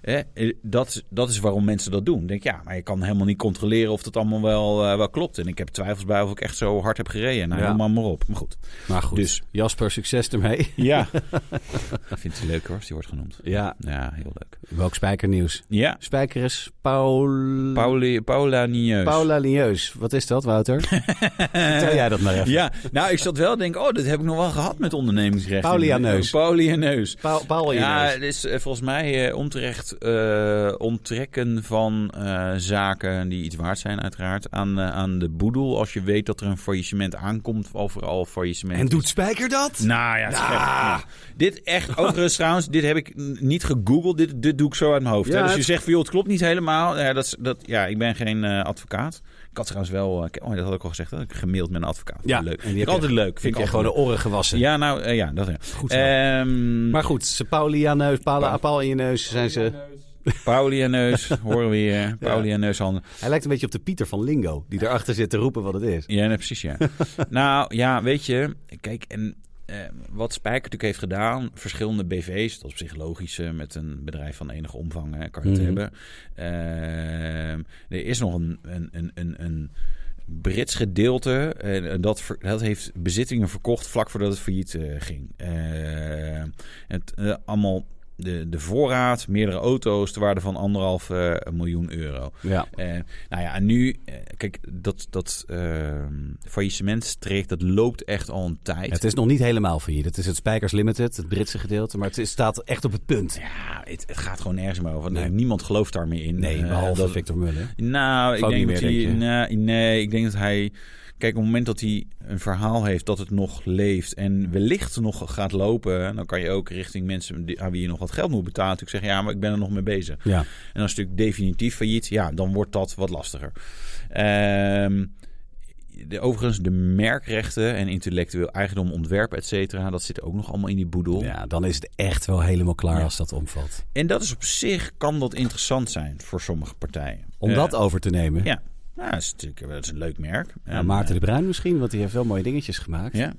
hè, eh, dat, dat is waarom mensen dat doen. Ik denk, ja, maar je kan helemaal niet controleren of dat allemaal wel, eh, wel klopt. En ik heb twijfels bij of ik echt zo hard heb gereden. Nou,
Ja.
ja. maar maar op. Maar goed.
Maar goed,
Dus-
Jasper, succes ermee.
Ja. ik vind het leuk hoor, als die wordt genoemd.
Ja,
Ja, heel leuk.
welk spijkernieuws?
Ja,
Spijker is Paul...
Pauli, Paula Nieus.
Paula Lieus. Wat is dat, Wouter? Vertel jij dat maar even.
Ja, nou, ik zat wel te denken, oh, dat heb ik nog wel gehad met ondernemingsrecht.
Paulia Neus.
Paulia Neus.
Paul, Paul
Ja,
Lieus.
het is eh, volgens mij eh, onterecht eh, onttrekken van eh, zaken die iets waard zijn, uiteraard. Aan, eh, aan de boedel als je weet dat er een faillissement aankomt, overal faillissement.
En doet Spijker dat?
Nou ja, het is echt- ja. dit echt, overigens trouwens, dit heb ik n- niet gegoogeld. Dit, dit doe ik zo uit mijn hoofd.
Ja,
hè. Dus
het-
je zegt van, joh, het klopt niet helemaal. Ja, dat, is- dat, ja ik ben geen eh, advocaat. Ik had trouwens wel, eh, oh, dat had ik al gezegd, hè. ik gemaild met een advocaat.
Ja,
leuk.
en die
Vind ik
heb je-
altijd leuk. Vind ik echt
gewoon de
leuk.
oren gewassen.
Ja, nou, eh, ja, dat ja.
Goed zo.
Ehm,
Maar goed, ze Paulia Neus, Paula,
Pa-
Paul in je neus zijn ze...
Neus,
Pauli en Neus, horen we hier. Pauli en Neushanden.
Hij lijkt een beetje op de Pieter van Lingo, die erachter zit te roepen wat het is.
Ja, nee, precies, ja. nou, ja, weet je, kijk, en eh, wat Spijker natuurlijk heeft gedaan, verschillende BV's, dat is op zich logisch, eh, met een bedrijf van enige omvang eh, kan je het
Mhm.
hebben. Ehm, er is nog een, een, een, een, een Brits gedeelte, eh, en dat, ver- dat heeft bezittingen verkocht vlak voordat het failliet eh, ging. Eh, het, eh, allemaal... De, de voorraad, meerdere auto's, de waarde van anderhalf eh, miljoen euro.
Ja.
Eh, nou ja, en nu, eh, kijk, dat, dat ehm faillissementstraject, dat loopt echt al een tijd.
Het is nog niet helemaal failliet. Het is het Spijkers Limited, het Britse gedeelte, maar het is- staat echt op het punt.
ja, het, het gaat gewoon nergens meer over.
Nee.
Niemand gelooft daar meer in.
Nee,
Eh,
behalve
dat-
Victor Muller.
Nou, ik
Ook
denk,
niet
dat
meer,
hij,
denk je?
nou, nee, ik denk dat hij... Kijk, op het moment dat hij een verhaal heeft dat het nog leeft en wellicht nog gaat lopen... dan kan je ook richting mensen die- aan wie je nog wat geld moet betalen... natuurlijk zeggen, ja, maar ik ben er nog mee bezig.
Ja.
En als het natuurlijk definitief failliet, ja, dan wordt dat wat lastiger. Ehm, de, overigens, de merkrechten en intellectueel eigendom, ontwerp, et cetera, dat zit ook nog allemaal in die boedel.
ja, dan is het echt wel helemaal klaar
Ja.
als dat omvalt.
En dat is op zich, kan dat interessant zijn voor sommige partijen.
Om dat over te nemen.
Eh, ja, nou, dat is natuurlijk dat is een leuk merk.
Ja,
En,
Maarten de Bruin misschien, want die heeft wel mooie dingetjes gemaakt.
eh, Ja,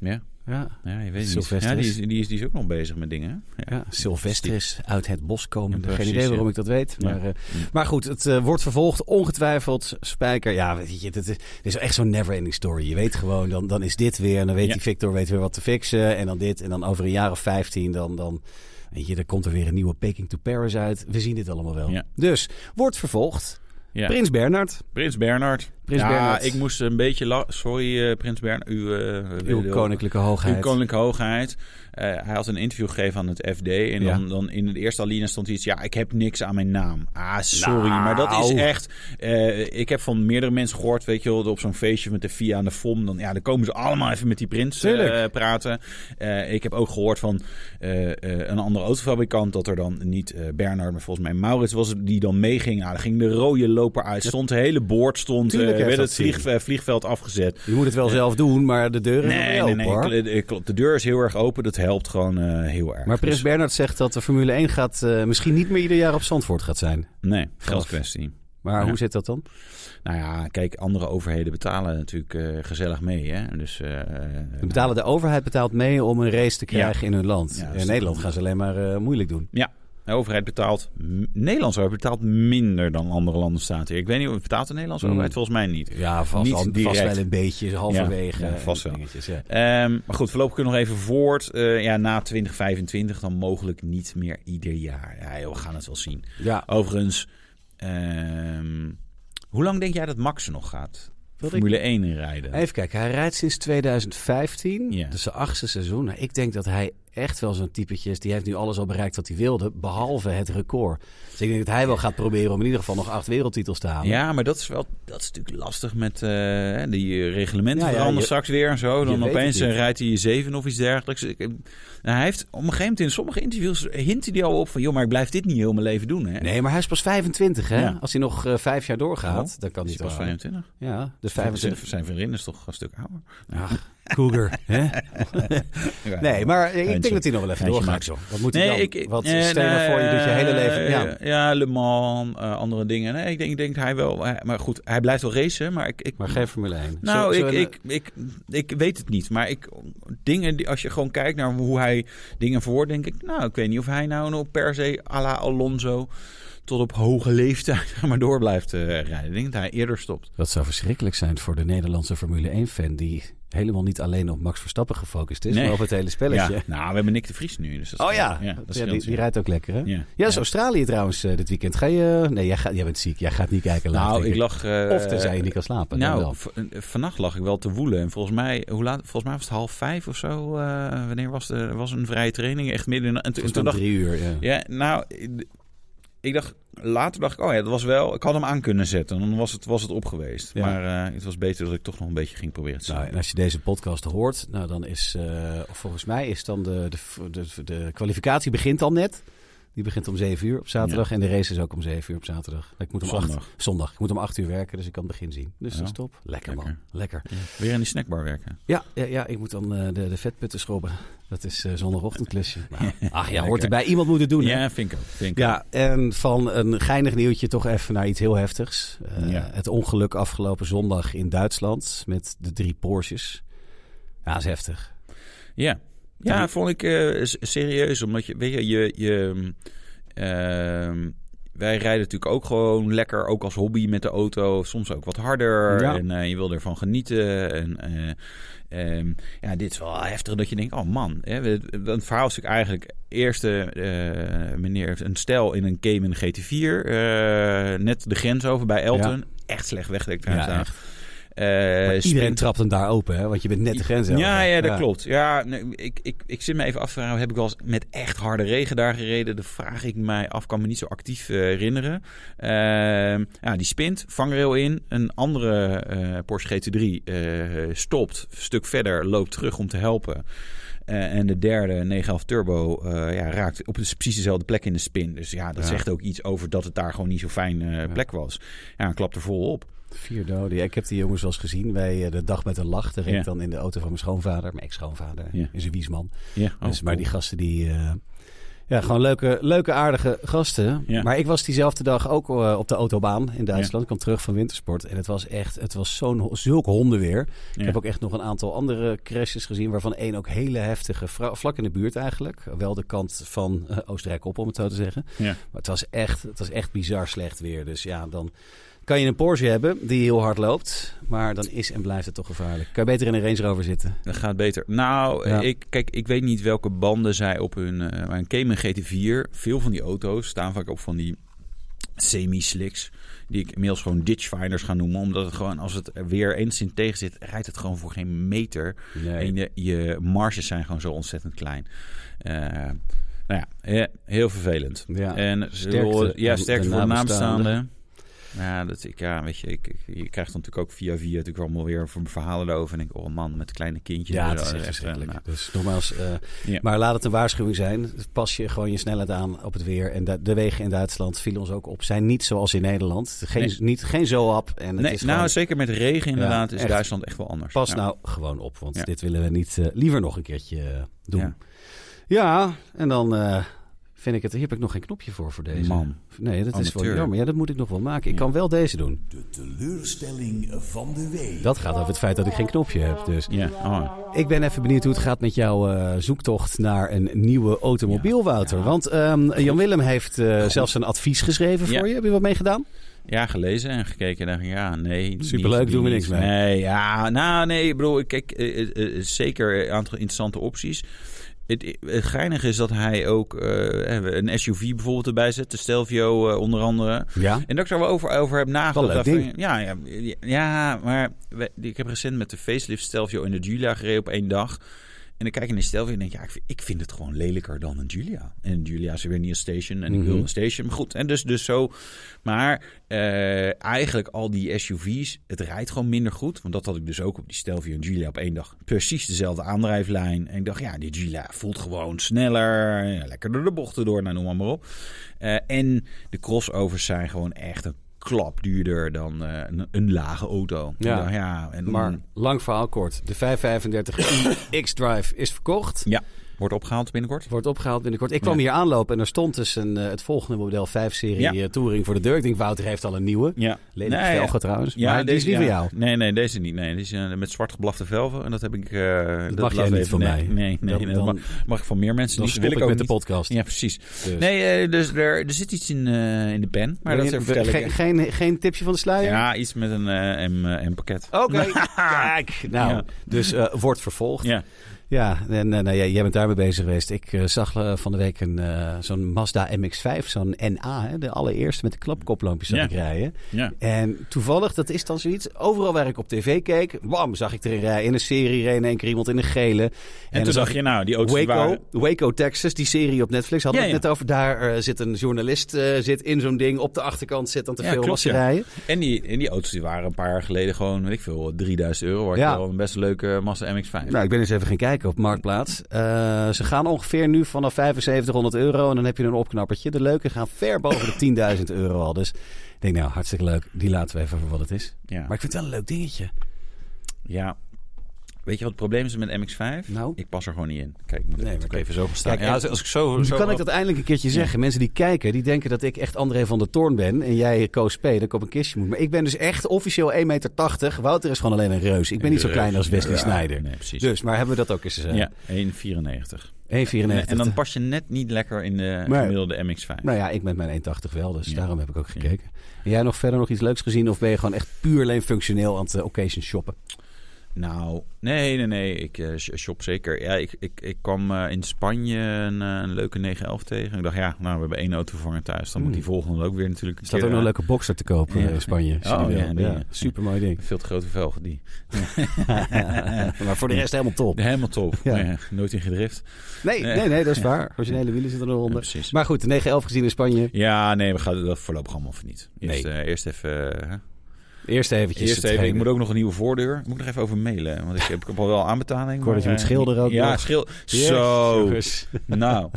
ja,
ja.
ja, je weet niet.
Sylvester
Ja, die,
is-
is, die, is, die is ook nog bezig met dingen. hè? Ja.
Ja, Silvestris uit het bos komen.
Ja, precies,
Geen idee waarom
ja.
ik dat weet.
Ja.
Maar, eh, maar goed, het eh, wordt vervolgd. Ongetwijfeld. Spijker. Ja, weet je, dat is, dit is echt zo'n never-ending story. Je weet gewoon, dan, dan is dit weer. En dan weet
Ja.
die Victor weet weer wat te fixen. En dan dit. En dan over een jaar of 15 dan... dan Weet je, dan komt er weer een nieuwe Peking to Paris uit. We zien dit allemaal wel.
Ja.
Dus, wordt vervolgd.
Ja.
Prins Bernard.
Prins Bernard.
Prins
ja,
Bernhard.
ik moest een beetje... la- Sorry, eh, Prins Bernard. Uw, eh,
Uw
wil-
koninklijke hoogheid.
Uw koninklijke hoogheid. Eh, hij had een interview gegeven aan het FD. En
Ja.
dan, dan in de eerste alinea stond iets... Ja, ik heb niks aan mijn naam. Ah, sorry.
Nou.
Maar dat is echt... eh, ik heb van meerdere mensen gehoord, weet je wel... op zo'n feestje met de VIA en de FOM... Dan, ja, dan komen ze allemaal even met die prins eh,
Tuurlijk.
praten. Eh, ik heb ook gehoord van eh, eh, een andere autofabrikant... dat er dan niet eh Bernard, maar volgens mij Maurits was... het, die dan meeging. Nou, dan ging de rode loper uit. Stond, het hele boord stond... eh,
Tuurlijk heeft
werd
dat
het vlieg- eh, vliegveld afgezet.
Je moet het wel zelf doen, maar de deuren zijn
Nee,
wel
nee,
open,
nee.
hoor.
kl- eh, Klopt. De deur is heel erg open. Dat helpt gewoon eh, heel erg.
Maar Prins
Dus-
Bernard zegt dat de Formule 1 gaat, eh, misschien niet meer ieder jaar op Zandvoort gaat zijn.
Nee, geldkwestie.
Maar
Ja.
hoe zit dat dan?
Nou ja, kijk, andere overheden betalen natuurlijk eh, gezellig mee. Hè? Dus, eh, eh,
We betalen, de overheid betaalt mee om een race te krijgen in hun land.
Ja, dat is
in
toch
Nederland
een-
gaan ze alleen maar eh, moeilijk doen.
Ja, de overheid betaalt... m- Nederlandse overheid betaalt minder dan andere landen staat hier. Ik weet niet, of betaalt de Nederlandse
Mm.
overheid? Volgens mij niet.
Ja,
Niet
vast, al, vast
direct.
wel een beetje, halverwege.
Ja, ja,
en
vast wel.
dingetjes, ja.
Ehm, maar goed, voorlopig kunnen we nog even voort. Eh, ja, na 2025 dan mogelijk niet meer ieder jaar. Ja, joh, we gaan het wel zien.
Ja,
Overigens, ehm, hoe lang denk jij dat Max er nog gaat?
wilde ik-
Formule 1 inrijden.
Even kijken, hij rijdt sinds 2015,
Ja.
dus zijn achtste seizoen. Nou, ik denk dat hij echt wel zo'n typetje is. Die heeft nu alles al bereikt wat hij wilde, behalve het record. Dus ik denk dat hij wel gaat proberen om in ieder geval nog acht wereldtitels te halen.
Ja, maar dat is wel dat is natuurlijk lastig met eh, die reglementen
Ja, ja,
veranderen
je-
straks weer en zo.
je
Dan
weet
opeens
het niet.
eh, rijdt hij zeven of iets dergelijks. Ik, eh, nou, hij heeft op een gegeven moment in sommige interviews hint hij er al op van, joh, maar ik blijf dit niet heel mijn leven doen, hè?
Nee, maar hij is pas 25, hè?
Ja.
Als hij nog eh, vijf jaar doorgaat,
Oh,
dan kan
Is
hij
hij pas
het wel halen.
25.
Ja, dus 25.
25. Zijn vriendin is toch een stuk ouder.
Ach, cougar, hè?
Ja,
Nee, maar ik
Geintje.
denk dat hij nog wel
Geintje
even doorgaat.
maakt.
joh. Wat moet hij dan? Wat
eh,
stel je nou voor, je doet je hele
nee, eh,
leven... Ja.
ja, Le Mans, eh, andere dingen. Nee, ik denk, ik denk dat hij wel. hij- maar goed, hij blijft wel racen, maar ik, ik
Maar geen Formule 1.
Nou,
Zo- zo-
ik, ik, ik, ik weet het niet. Maar ik, dingen die, als je gewoon kijkt naar hoe hij dingen verwoordt, denk ik... Nou, ik weet niet of hij nou nog per se à la Alonso tot op hoge leeftijd maar door blijft eh, rijden. Ik denk dat hij eerder stopt.
Dat zou verschrikkelijk zijn voor de Nederlandse Formule 1-fan... die helemaal niet alleen op Max Verstappen gefocust is...
Nee.
maar op het hele spelletje.
Ja, nou, we hebben Nick de Vries nu. Dus dat
Oh
scheelt.
ja,
ja
Ja,
dat
die,
scheelt
die rijdt ook lekker, hè? Ja,
Ja.
dat is Australië trouwens eh, dit weekend. Ga je... Nee, jij, gaat, jij bent ziek. Jij gaat niet kijken laat,
Nou,
denk
ik lag... eh,
Of tenzij je niet kan slapen. dan wel.
Nou, v- eh, vannacht lag ik wel te woelen. En volgens mij, hoe laat, volgens mij was het half vijf of zo. eh, wanneer was, de, was een vrije training? Echt midden in de... En, toen- en
Volgens
toen
mij
dacht
om drie uur, ja.
Ja, nou, ik- ik dacht, later dacht ik, oh ja, dat was wel, ik had hem aan kunnen zetten. Dan was het, was het op geweest.
Ja.
Maar eh, het was beter dat ik toch nog een beetje ging proberen te
Nou,
slapen.
en als je deze podcast hoort, nou, dan is eh, volgens mij is dan de, de, de, de kwalificatie begint al net. Die begint om 7 uur op zaterdag. En de race is ook om 7 uur op zaterdag. Ik moet om
Zondag.
8, zondag. Ik moet om 8 uur werken, dus ik kan het begin zien. Dus
Ja.
dan stop. Lekker, man.
Lekker.
Lekker.
Weer in die snackbar werken.
Ja, ja, ja, ik moet dan eh, de, de vetputten schrobben. Dat is eh, zondagochtendklusje. Nou, ach ja, hoort
Lekker.
erbij. Iemand moet het doen. hè?
Ja, vind ik ook. Vind ik ook.
Ja, en van een geinig nieuwtje toch even naar iets heel heftigs. Eh,
Ja.
Het ongeluk afgelopen zondag in Duitsland met de drie Porsches. Ja, dat is heftig.
Ja, ja vond ik eh, s- serieus. Omdat je, weet je, je, je mm, ehm, wij rijden natuurlijk ook gewoon lekker, ook als hobby met de auto. Soms ook wat harder.
Ja.
En eh, je wil ervan genieten. En, eh, ehm, ja, dit is wel heftig dat je denkt, oh man. Hè, we- we- het verhaal is natuurlijk eigenlijk... Eerste eh meneer heeft een stel in een Cayman GT4. eh, net de grens over bij Elton. Echt slecht wegdekt trouwens.
Ja,
daar.
echt.
Eh,
Iedereen
spin-
trapt hem daar open, hè? want je bent net de grens over.
ja, ja, dat klopt. Ja, nee, ik, ik, ik zit me even af te vragen. Heb ik wel eens met echt harde regen daar gereden? De vraag ik mij af. Kan me niet zo actief eh, herinneren. Ehm, ja, die spint, vangrail in. Een andere eh, Porsche GT3 eh, stopt. Een stuk verder, loopt terug om te helpen. Eh, en de derde, 911 Turbo, eh, ja, raakt op de- precies dezelfde plek in de spin. Dus ja, dat
Ja.
zegt ook iets over dat het daar gewoon niet zo'n fijn eh, plek was. Ja, klapt er vol op.
Vier doden. Ja, ik heb die jongens wel eens gezien bij eh, de dag met een lach. Daar reed ik
Ja.
dan in de auto van mijn schoonvader, mijn ex-schoonvader.
Ja.
Is een wiesman.
Ja, oh,
dus, maar
cool.
die gasten die... eh, ja, gewoon leuke, leuke aardige gasten.
Ja.
Maar ik was diezelfde dag ook eh, op de autobaan in Duitsland. Ik kwam terug van wintersport. En het was echt, het was zo'n, ho- zulk hondenweer. Ik
Ja.
heb ook echt nog een aantal andere crashes gezien. Waarvan één ook hele heftige, vra- vlak in de buurt eigenlijk. Wel de kant van eh, Oostenrijk op, om het zo te zeggen.
Ja.
Maar het was, echt, het was echt bizar slecht weer. Dus ja, dan kan je een Porsche hebben die heel hard loopt. Maar dan is en blijft het toch gevaarlijk. Kan je beter in een Range Rover zitten.
Dat gaat beter. Nou,
Ja.
ik, kijk, ik weet niet welke banden zij op hun... eh, maar een Cayman GT4, veel van die auto's staan vaak op van die semi-slicks. Die ik inmiddels gewoon ditchfinders ga noemen. Omdat het gewoon, als het er weer enigszins tegen zit, rijdt het gewoon voor geen meter. En je, je marges zijn gewoon zo ontzettend klein. Eh, nou ja, eh, heel vervelend.
Ja.
en
Sterkte
sterkte, ja,
aan
sterkte
de
voor de
nabestaanden.
naamstaanden. Ja, dat ik, ja, weet je, ik, ik- je krijgt dan natuurlijk ook via via natuurlijk allemaal weer ver- verhalen erover. En ik, denk, oh man, met kleine kindjes.
Ja,
en zo.
het is echt
eh,
verschrikkelijk.
nou,
Dus nogmaals, eh,
Ja.
maar laat het een waarschuwing zijn. Pas je gewoon je snelheid aan op het weer. En de, de wegen in Duitsland vielen ons ook op. Zijn niet zoals in Nederland. Geen,
Nee.
niet, geen zoap. En het
nee,
is
nou,
gewoon,
zeker met regen inderdaad is
echt.
Duitsland echt wel anders.
pas
Ja.
nou gewoon op. Want
Ja.
dit willen we niet eh, liever nog een keertje eh, doen. Ja,
Ja.
en dan eh, vind ik het... Hier heb ik nog geen knopje voor voor deze.
Man.
Nee, dat is wel
Amateur.
jammer. Ja, dat moet ik nog wel maken. Ik kan wel deze doen.
De teleurstelling van de week.
Dat gaat over het feit dat ik geen knopje heb. Dus
Ja, oh.
Ik ben even benieuwd hoe het gaat met jouw eh, zoektocht naar een nieuwe automobiel, Wouter. Want ehm, Jan-Willem heeft eh, zelfs een advies geschreven
Ja.
voor je. Heb je wat mee gedaan?
ja, gelezen en gekeken en dacht ik, ja, nee.
Superleuk,
niet-
doen we
niet.
niks mee.
Nee, ja, nou nee, ik bedoel, ik kijk, eh, eh, eh, zeker een aantal interessante opties. Het, het geinige is dat hij ook eh, een SUV bijvoorbeeld erbij zet, de Stelvio eh, onder andere.
Ja.
En dat ik er wel over, over heb nagedacht.
Wel een leuk
Daarvan- ja, ja, ja, ja, maar we- ik heb recent met de facelift Stelvio en de Julia gereden op één dag. En dan kijk ik naar die Stelvio en denk ik, ja, ik vind, ik vind het gewoon lelijker dan een Julia. En een Julia is weer niet een station en ik wil
Mhm.
een station. Maar goed, en dus, dus zo. Maar eh, eigenlijk al die SUV's, het rijdt gewoon minder goed. Want dat had ik dus ook op die Stelvio en Julia op één dag. Precies dezelfde aandrijflijn. En ik dacht, ja, die Julia voelt gewoon sneller. Ja, lekker door de bochten door, nou, noem maar, maar op. Eh, en de crossovers zijn gewoon echt een klap duurder dan eh, een, een lage auto.
Ja.
Ik dacht, ja en,
Maar lang verhaal kort. De 535 i X-Drive is verkocht.
Ja, wordt opgehaald binnenkort.
Wordt opgehaald binnenkort. Ik kwam
Ja.
hier aanlopen en er stond dus een, eh, het volgende model 5-serie
Ja.
eh, Touring voor de deur. Ik denk, Wouter heeft al een nieuwe.
Ja.
Lelijk
Nee,
velgen
ja.
trouwens. maar die is
deze-
niet van
ja.
jou.
Nee, nee, deze niet. Nee, die is eh, met zwart geblafte velven. En dat heb ik... eh,
Dat mag jij
laat
niet
even-
van
nee,
mij.
Nee, nee,
Dan-
nee,
dan-
dat mag, mag ik van meer mensen
Dan
niet.
stop
wil
ik
ook
met
niet.
de podcast.
Ja, precies.
Dus.
Nee, eh, dus er, er zit iets in, eh, in de pen. Maar dat
Geen-
vertel ik.
geen, geen, geen tipje van de sluier?
Ja, iets met een eh, M, eh, M-pakket.
Oké, kijk. Nou,
Ja.
dus eh, wordt vervolgd.
Ja.
Ja, en eh, nou, jij, jij bent daarmee bezig geweest. Ik eh, zag eh, van de week een, eh, zo'n Mazda MX-5, zo'n NA, hè, de allereerste met de klapkoplampjes zag
Ja.
ik rijden.
ja.
En toevallig, dat is dan zoiets, overal waar ik op tv keek, wam, zag ik er een rij. In een serie reed in één keer iemand in een gele. En,
En, toen
dan
dacht je, nou, die auto's die
Waco,
waren...
Waco, Texas, die serie op Netflix, hadden we
Ja,
het net over. Daar eh, zit een journalist eh, zit in zo'n ding, op de achterkant zit dan te
Ja,
veel
klopt,
was ze
ja.
rijden.
En die, en die auto's die waren een paar jaar geleden gewoon, weet ik veel, 3000 euro. Waar
Ja.
je wel een best leuke Mazda MX-5.
Nou, ik ben eens even gaan kijken. kijken op Marktplaats. Eh, ze gaan ongeveer nu vanaf 7500 euro en dan heb je een opknappertje. De leuke gaan ver boven de 10.000 euro al. Dus ik denk nou, hartstikke leuk. Die laten we even voor wat het is.
Ja.
Maar ik vind het wel een leuk dingetje.
ja. Weet je wat het probleem is met MX5?
Nou?
Ik pas er gewoon niet in. Kijk, ik moet
Nee,
het
maar
ook even zo gaan staan.
Kijk,
Ja, als, als ik zo...
Nu
zo
Dus kan ik dat eindelijk een keertje zeggen. Mensen die kijken, die denken dat ik echt André van der Toorn ben. En jij Koos P, dat ik op een kistje moet. Maar ik ben dus echt officieel 1,80 meter. Wouter is gewoon alleen een reus. Ik ben niet zo klein als Wesley
Ja,
Snijder.
Nee, precies.
Dus, maar hebben we dat ook eens gezegd?
ja, 1,94.
1,94.
En dan pas je net niet lekker in de
Nee.
gemiddelde MX5.
Nou ja, ik met mijn 1,80 wel, dus
Ja.
daarom heb ik ook gekeken. En jij nog verder nog iets leuks gezien? Of ben je gewoon echt puur alleen functioneel aan het eh, occasion shoppen?
Nou, nee, nee, nee. Ik eh, sh- shop zeker. Ja, ik, ik, ik kwam eh, in Spanje een, eh, een leuke 911 tegen. Ik dacht, ja, nou, we hebben één autovervanger thuis. Dan moet die volgende ook weer natuurlijk een
Er staat Hmm. ook
keer
nog een
aan.
leuke boxer te kopen
Ja.
eh, in Spanje. als je
Oh,
die wil.
ja, die,
ja,
ja.
supermooi ding.
Veel te grote velgen, die.
maar voor de rest helemaal top.
Helemaal top.
Ja.
Maar ja, nooit in gedrift.
Nee,
Nee.
nee, nee, dat is waar. Originele wielen zitten
Ja,
eronder.
precies.
Maar goed, de 911 gezien in Spanje.
Ja, nee, we gaan dat voorlopig allemaal even niet. Eerst,
Nee.
eh, eerst even... eh,
Eerst eventjes.
Eerst even, ik moet ook nog een nieuwe voordeur. Ik moet nog even over mailen, want ik heb, ik heb al wel aanbetaling.
Ik hoor dat je
maar,
moet
eh,
schilderen ook
Ja,
nog.
schil. Zo.
Jezus.
Nou,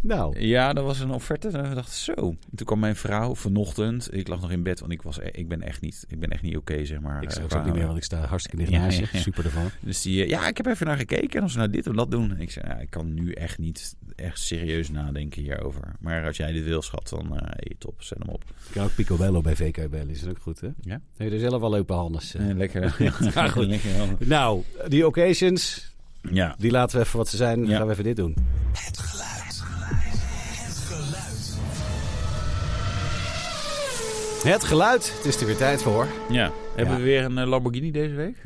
Nou,
ja, dat was een offerte. En we dachten zo. En toen kwam mijn vrouw vanochtend. Ik lag nog in bed, want ik, was, e- ik ben echt niet, ik ben echt niet oké, zeg maar.
ik
eh,
zeg het
qua-
ook niet meer, want ik sta hartstikke dicht
Ja,
naast
ja,
je.
ja.
Super ervan.
Dus die, eh, ja, ik heb even naar gekeken. En als we nou dit of dat doen. En ik zei, ja, ik kan nu echt niet echt serieus nadenken hierover. Maar als jij dit wil, schat, dan eh hey, top, zet hem op.
Ik kan ook Picobello bij VK bellen, is dat ook goed, hè?
Ja.
Heb je er zelf wel leuke handen.
Eh, lekker.
Ja, goed.
Lekker wel.
Nou, die occasions,
Ja.
Die laten we even wat ze zijn. Dan
Ja.
gaan we even dit doen.
Het geluid. Het geluid.
Het geluid. Het is er weer tijd voor.
ja. Hebben
Ja.
we weer een eh, Lamborghini deze week?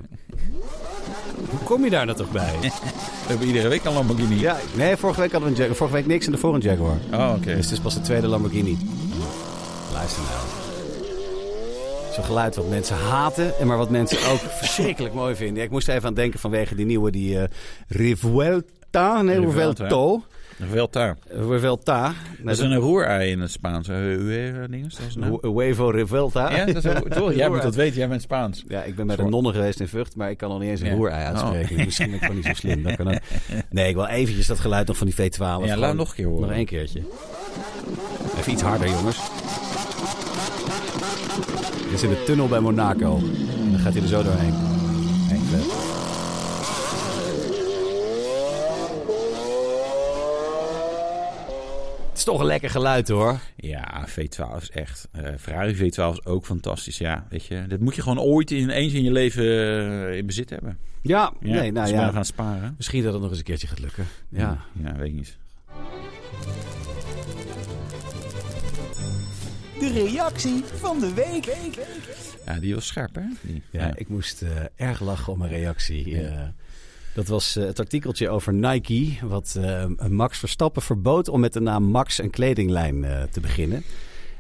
Hoe kom je daar nou toch bij?
We hebben iedere week een Lamborghini.
ja, nee, vorige week hadden we een Jaguar. Vorige week niks en daarvoor een Jaguar.
Oh, oké.
Dus het is pas de tweede Lamborghini. Luister nou. Zo'n geluid wat mensen haten en maar wat mensen ook verschrikkelijk mooi vinden. Ik moest er even aan denken vanwege die nieuwe, die eh Rivuelta. Nee,
Rivuelta.
Rivuelto.
Nog wel tuin.
Rivuelta.
Dat is een roerei in het Spaans. Dinges, dat is een
Huevo Rivuelta.
Ja, dat is een- toch? Jij moet
Roerei.
dat weten, jij bent Spaans.
Ja, ik ben bij de nonnen geweest in Vught, maar ik kan al niet eens een
Ja. Oh.
roerei uitspreken. Dus Misschien ben ik gewoon niet zo slim. Dat kan ook. Nee, ik wil eventjes dat geluid nog van die
Ja,
V12.
laat
Gewoon
hem nog een keer horen.
Nog één keertje. Even iets harder, jongens. Dit is in de tunnel bij Monaco. En dan gaat hij er zo doorheen. Echt vet. Het is toch een lekker geluid, hoor.
Ja, V12 is echt. eh, Ferrari V12 is ook fantastisch. Ja, weet je. Dat moet je gewoon ooit in, eens in je leven eh, in bezit hebben.
Ja,
Ja,
nee, nou
dus we
ja.
gaan sparen.
Misschien dat het nog eens een keertje gaat lukken. ja.
Ja, weet ik niet.
De reactie van de week.
Ja, die was scherp, hè? Die.
Ja, ik moest eh, erg lachen om een reactie. Eh, dat was eh, het artikeltje over Nike, wat eh, Max Verstappen verbood om met de naam Max een kledinglijn eh, te beginnen.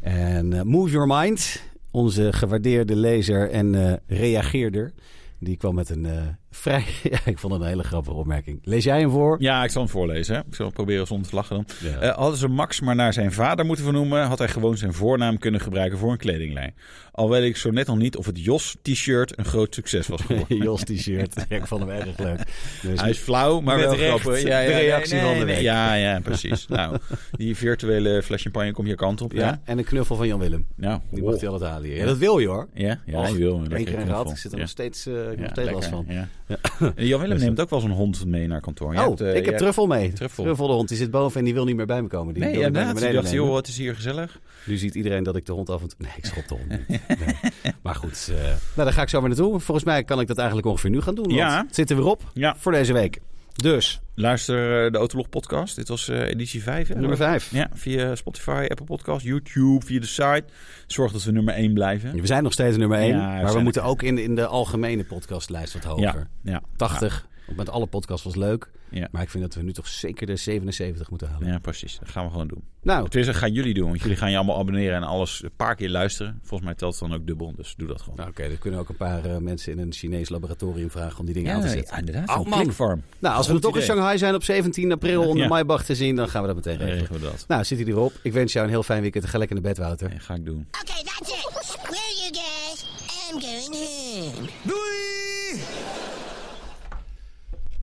En eh, Move Your Mind, onze gewaardeerde lezer en eh, reageerder, die kwam met een eh, vrij... ja, ik vond het een hele grappige opmerking. Lees jij hem voor?
Ja, ik zal hem voorlezen. Hè? Ik zal proberen zonder te lachen dan.
Ja.
Eh, hadden ze Max maar naar zijn vader moeten vernoemen, had hij gewoon zijn voornaam kunnen gebruiken voor een kledinglijn. Al weet ik zo net nog niet of het Jos-t-shirt een groot succes was geworden.
Jos t-shirt. Ja, ik vond hem erg leuk. Dus
Hij is flauw, maar
Met
wel
recht
grappig.
de reactie van de week.
Ja, ja, precies. nou, die virtuele fles champagne komt je kant op. Ja.
ja, en een knuffel van Jan Willem.
Nou,
Die mag hij altijd halen hier. Ja, dat wil je hoor.
Ja, ja,
Och,
hij wil.
Eén keer een gehad. Ik zit er nog steeds, eh, ik heb nog steeds last van.
Ja. En Jan Willem neemt ook wel zo'n hond mee naar kantoor. Jij
oh,
hebt, eh,
ik heb
jij-
truffel mee.
Truffel.
Truffel. de hond. Die zit boven en die wil niet meer bij me komen. Die
Nee,
wil
ja,
ik bij
inderdaad.
me
Ik
beneden
dacht,
nemen.
joh, wat is hier gezellig.
Nu ziet iedereen dat ik de hond af en toe... Nee, ik schop de hond niet. Nee. Maar goed, eh, nou, daar ga ik zo maar naartoe. Volgens mij kan ik dat eigenlijk ongeveer nu gaan doen. want
Ja.
het zit er weer op
Ja.
voor deze week. Dus,
Luister eh, de Autolog podcast. Dit was eh, editie 5.
nummer 5.
Ja, via Spotify, Apple Podcast, YouTube, via de site. Zorg dat we nummer 1 blijven.
We zijn nog steeds nummer 1.
Ja, we
maar we
zijn-
moeten ook in, in de algemene podcastlijst wat hoger.
ja.
80. Met alle podcasts was leuk.
Ja.
Maar ik vind dat we nu toch zeker de 77 moeten halen.
ja, precies. Dat gaan we gewoon doen.
Nou,
Tenminste, dat gaan jullie doen. Want jullie gaan je allemaal abonneren en alles een paar keer luisteren. Volgens mij telt het dan ook dubbel. Dus doe dat gewoon.
nou oké. dan kunnen ook een paar eh, mensen in een Chinees laboratorium vragen om die dingen aan te
ja,
zetten.
ja, inderdaad.
Oh,
Zo'n
man.
klikfarm.
Nou, als we
Goed
er toch in
idee.
Shanghai zijn op 17 april onder
Ja.
Maibach te zien, dan gaan we dat meteen
Dan
regelen.
regelen we dat.
Nou, zit hij erop. Ik wens jou een heel fijn weekend. Ga lekker naar bed, Wouter.
Ja, ga ik doen.
Okay, that's it. Where are you guys? I'm going home.
Doei!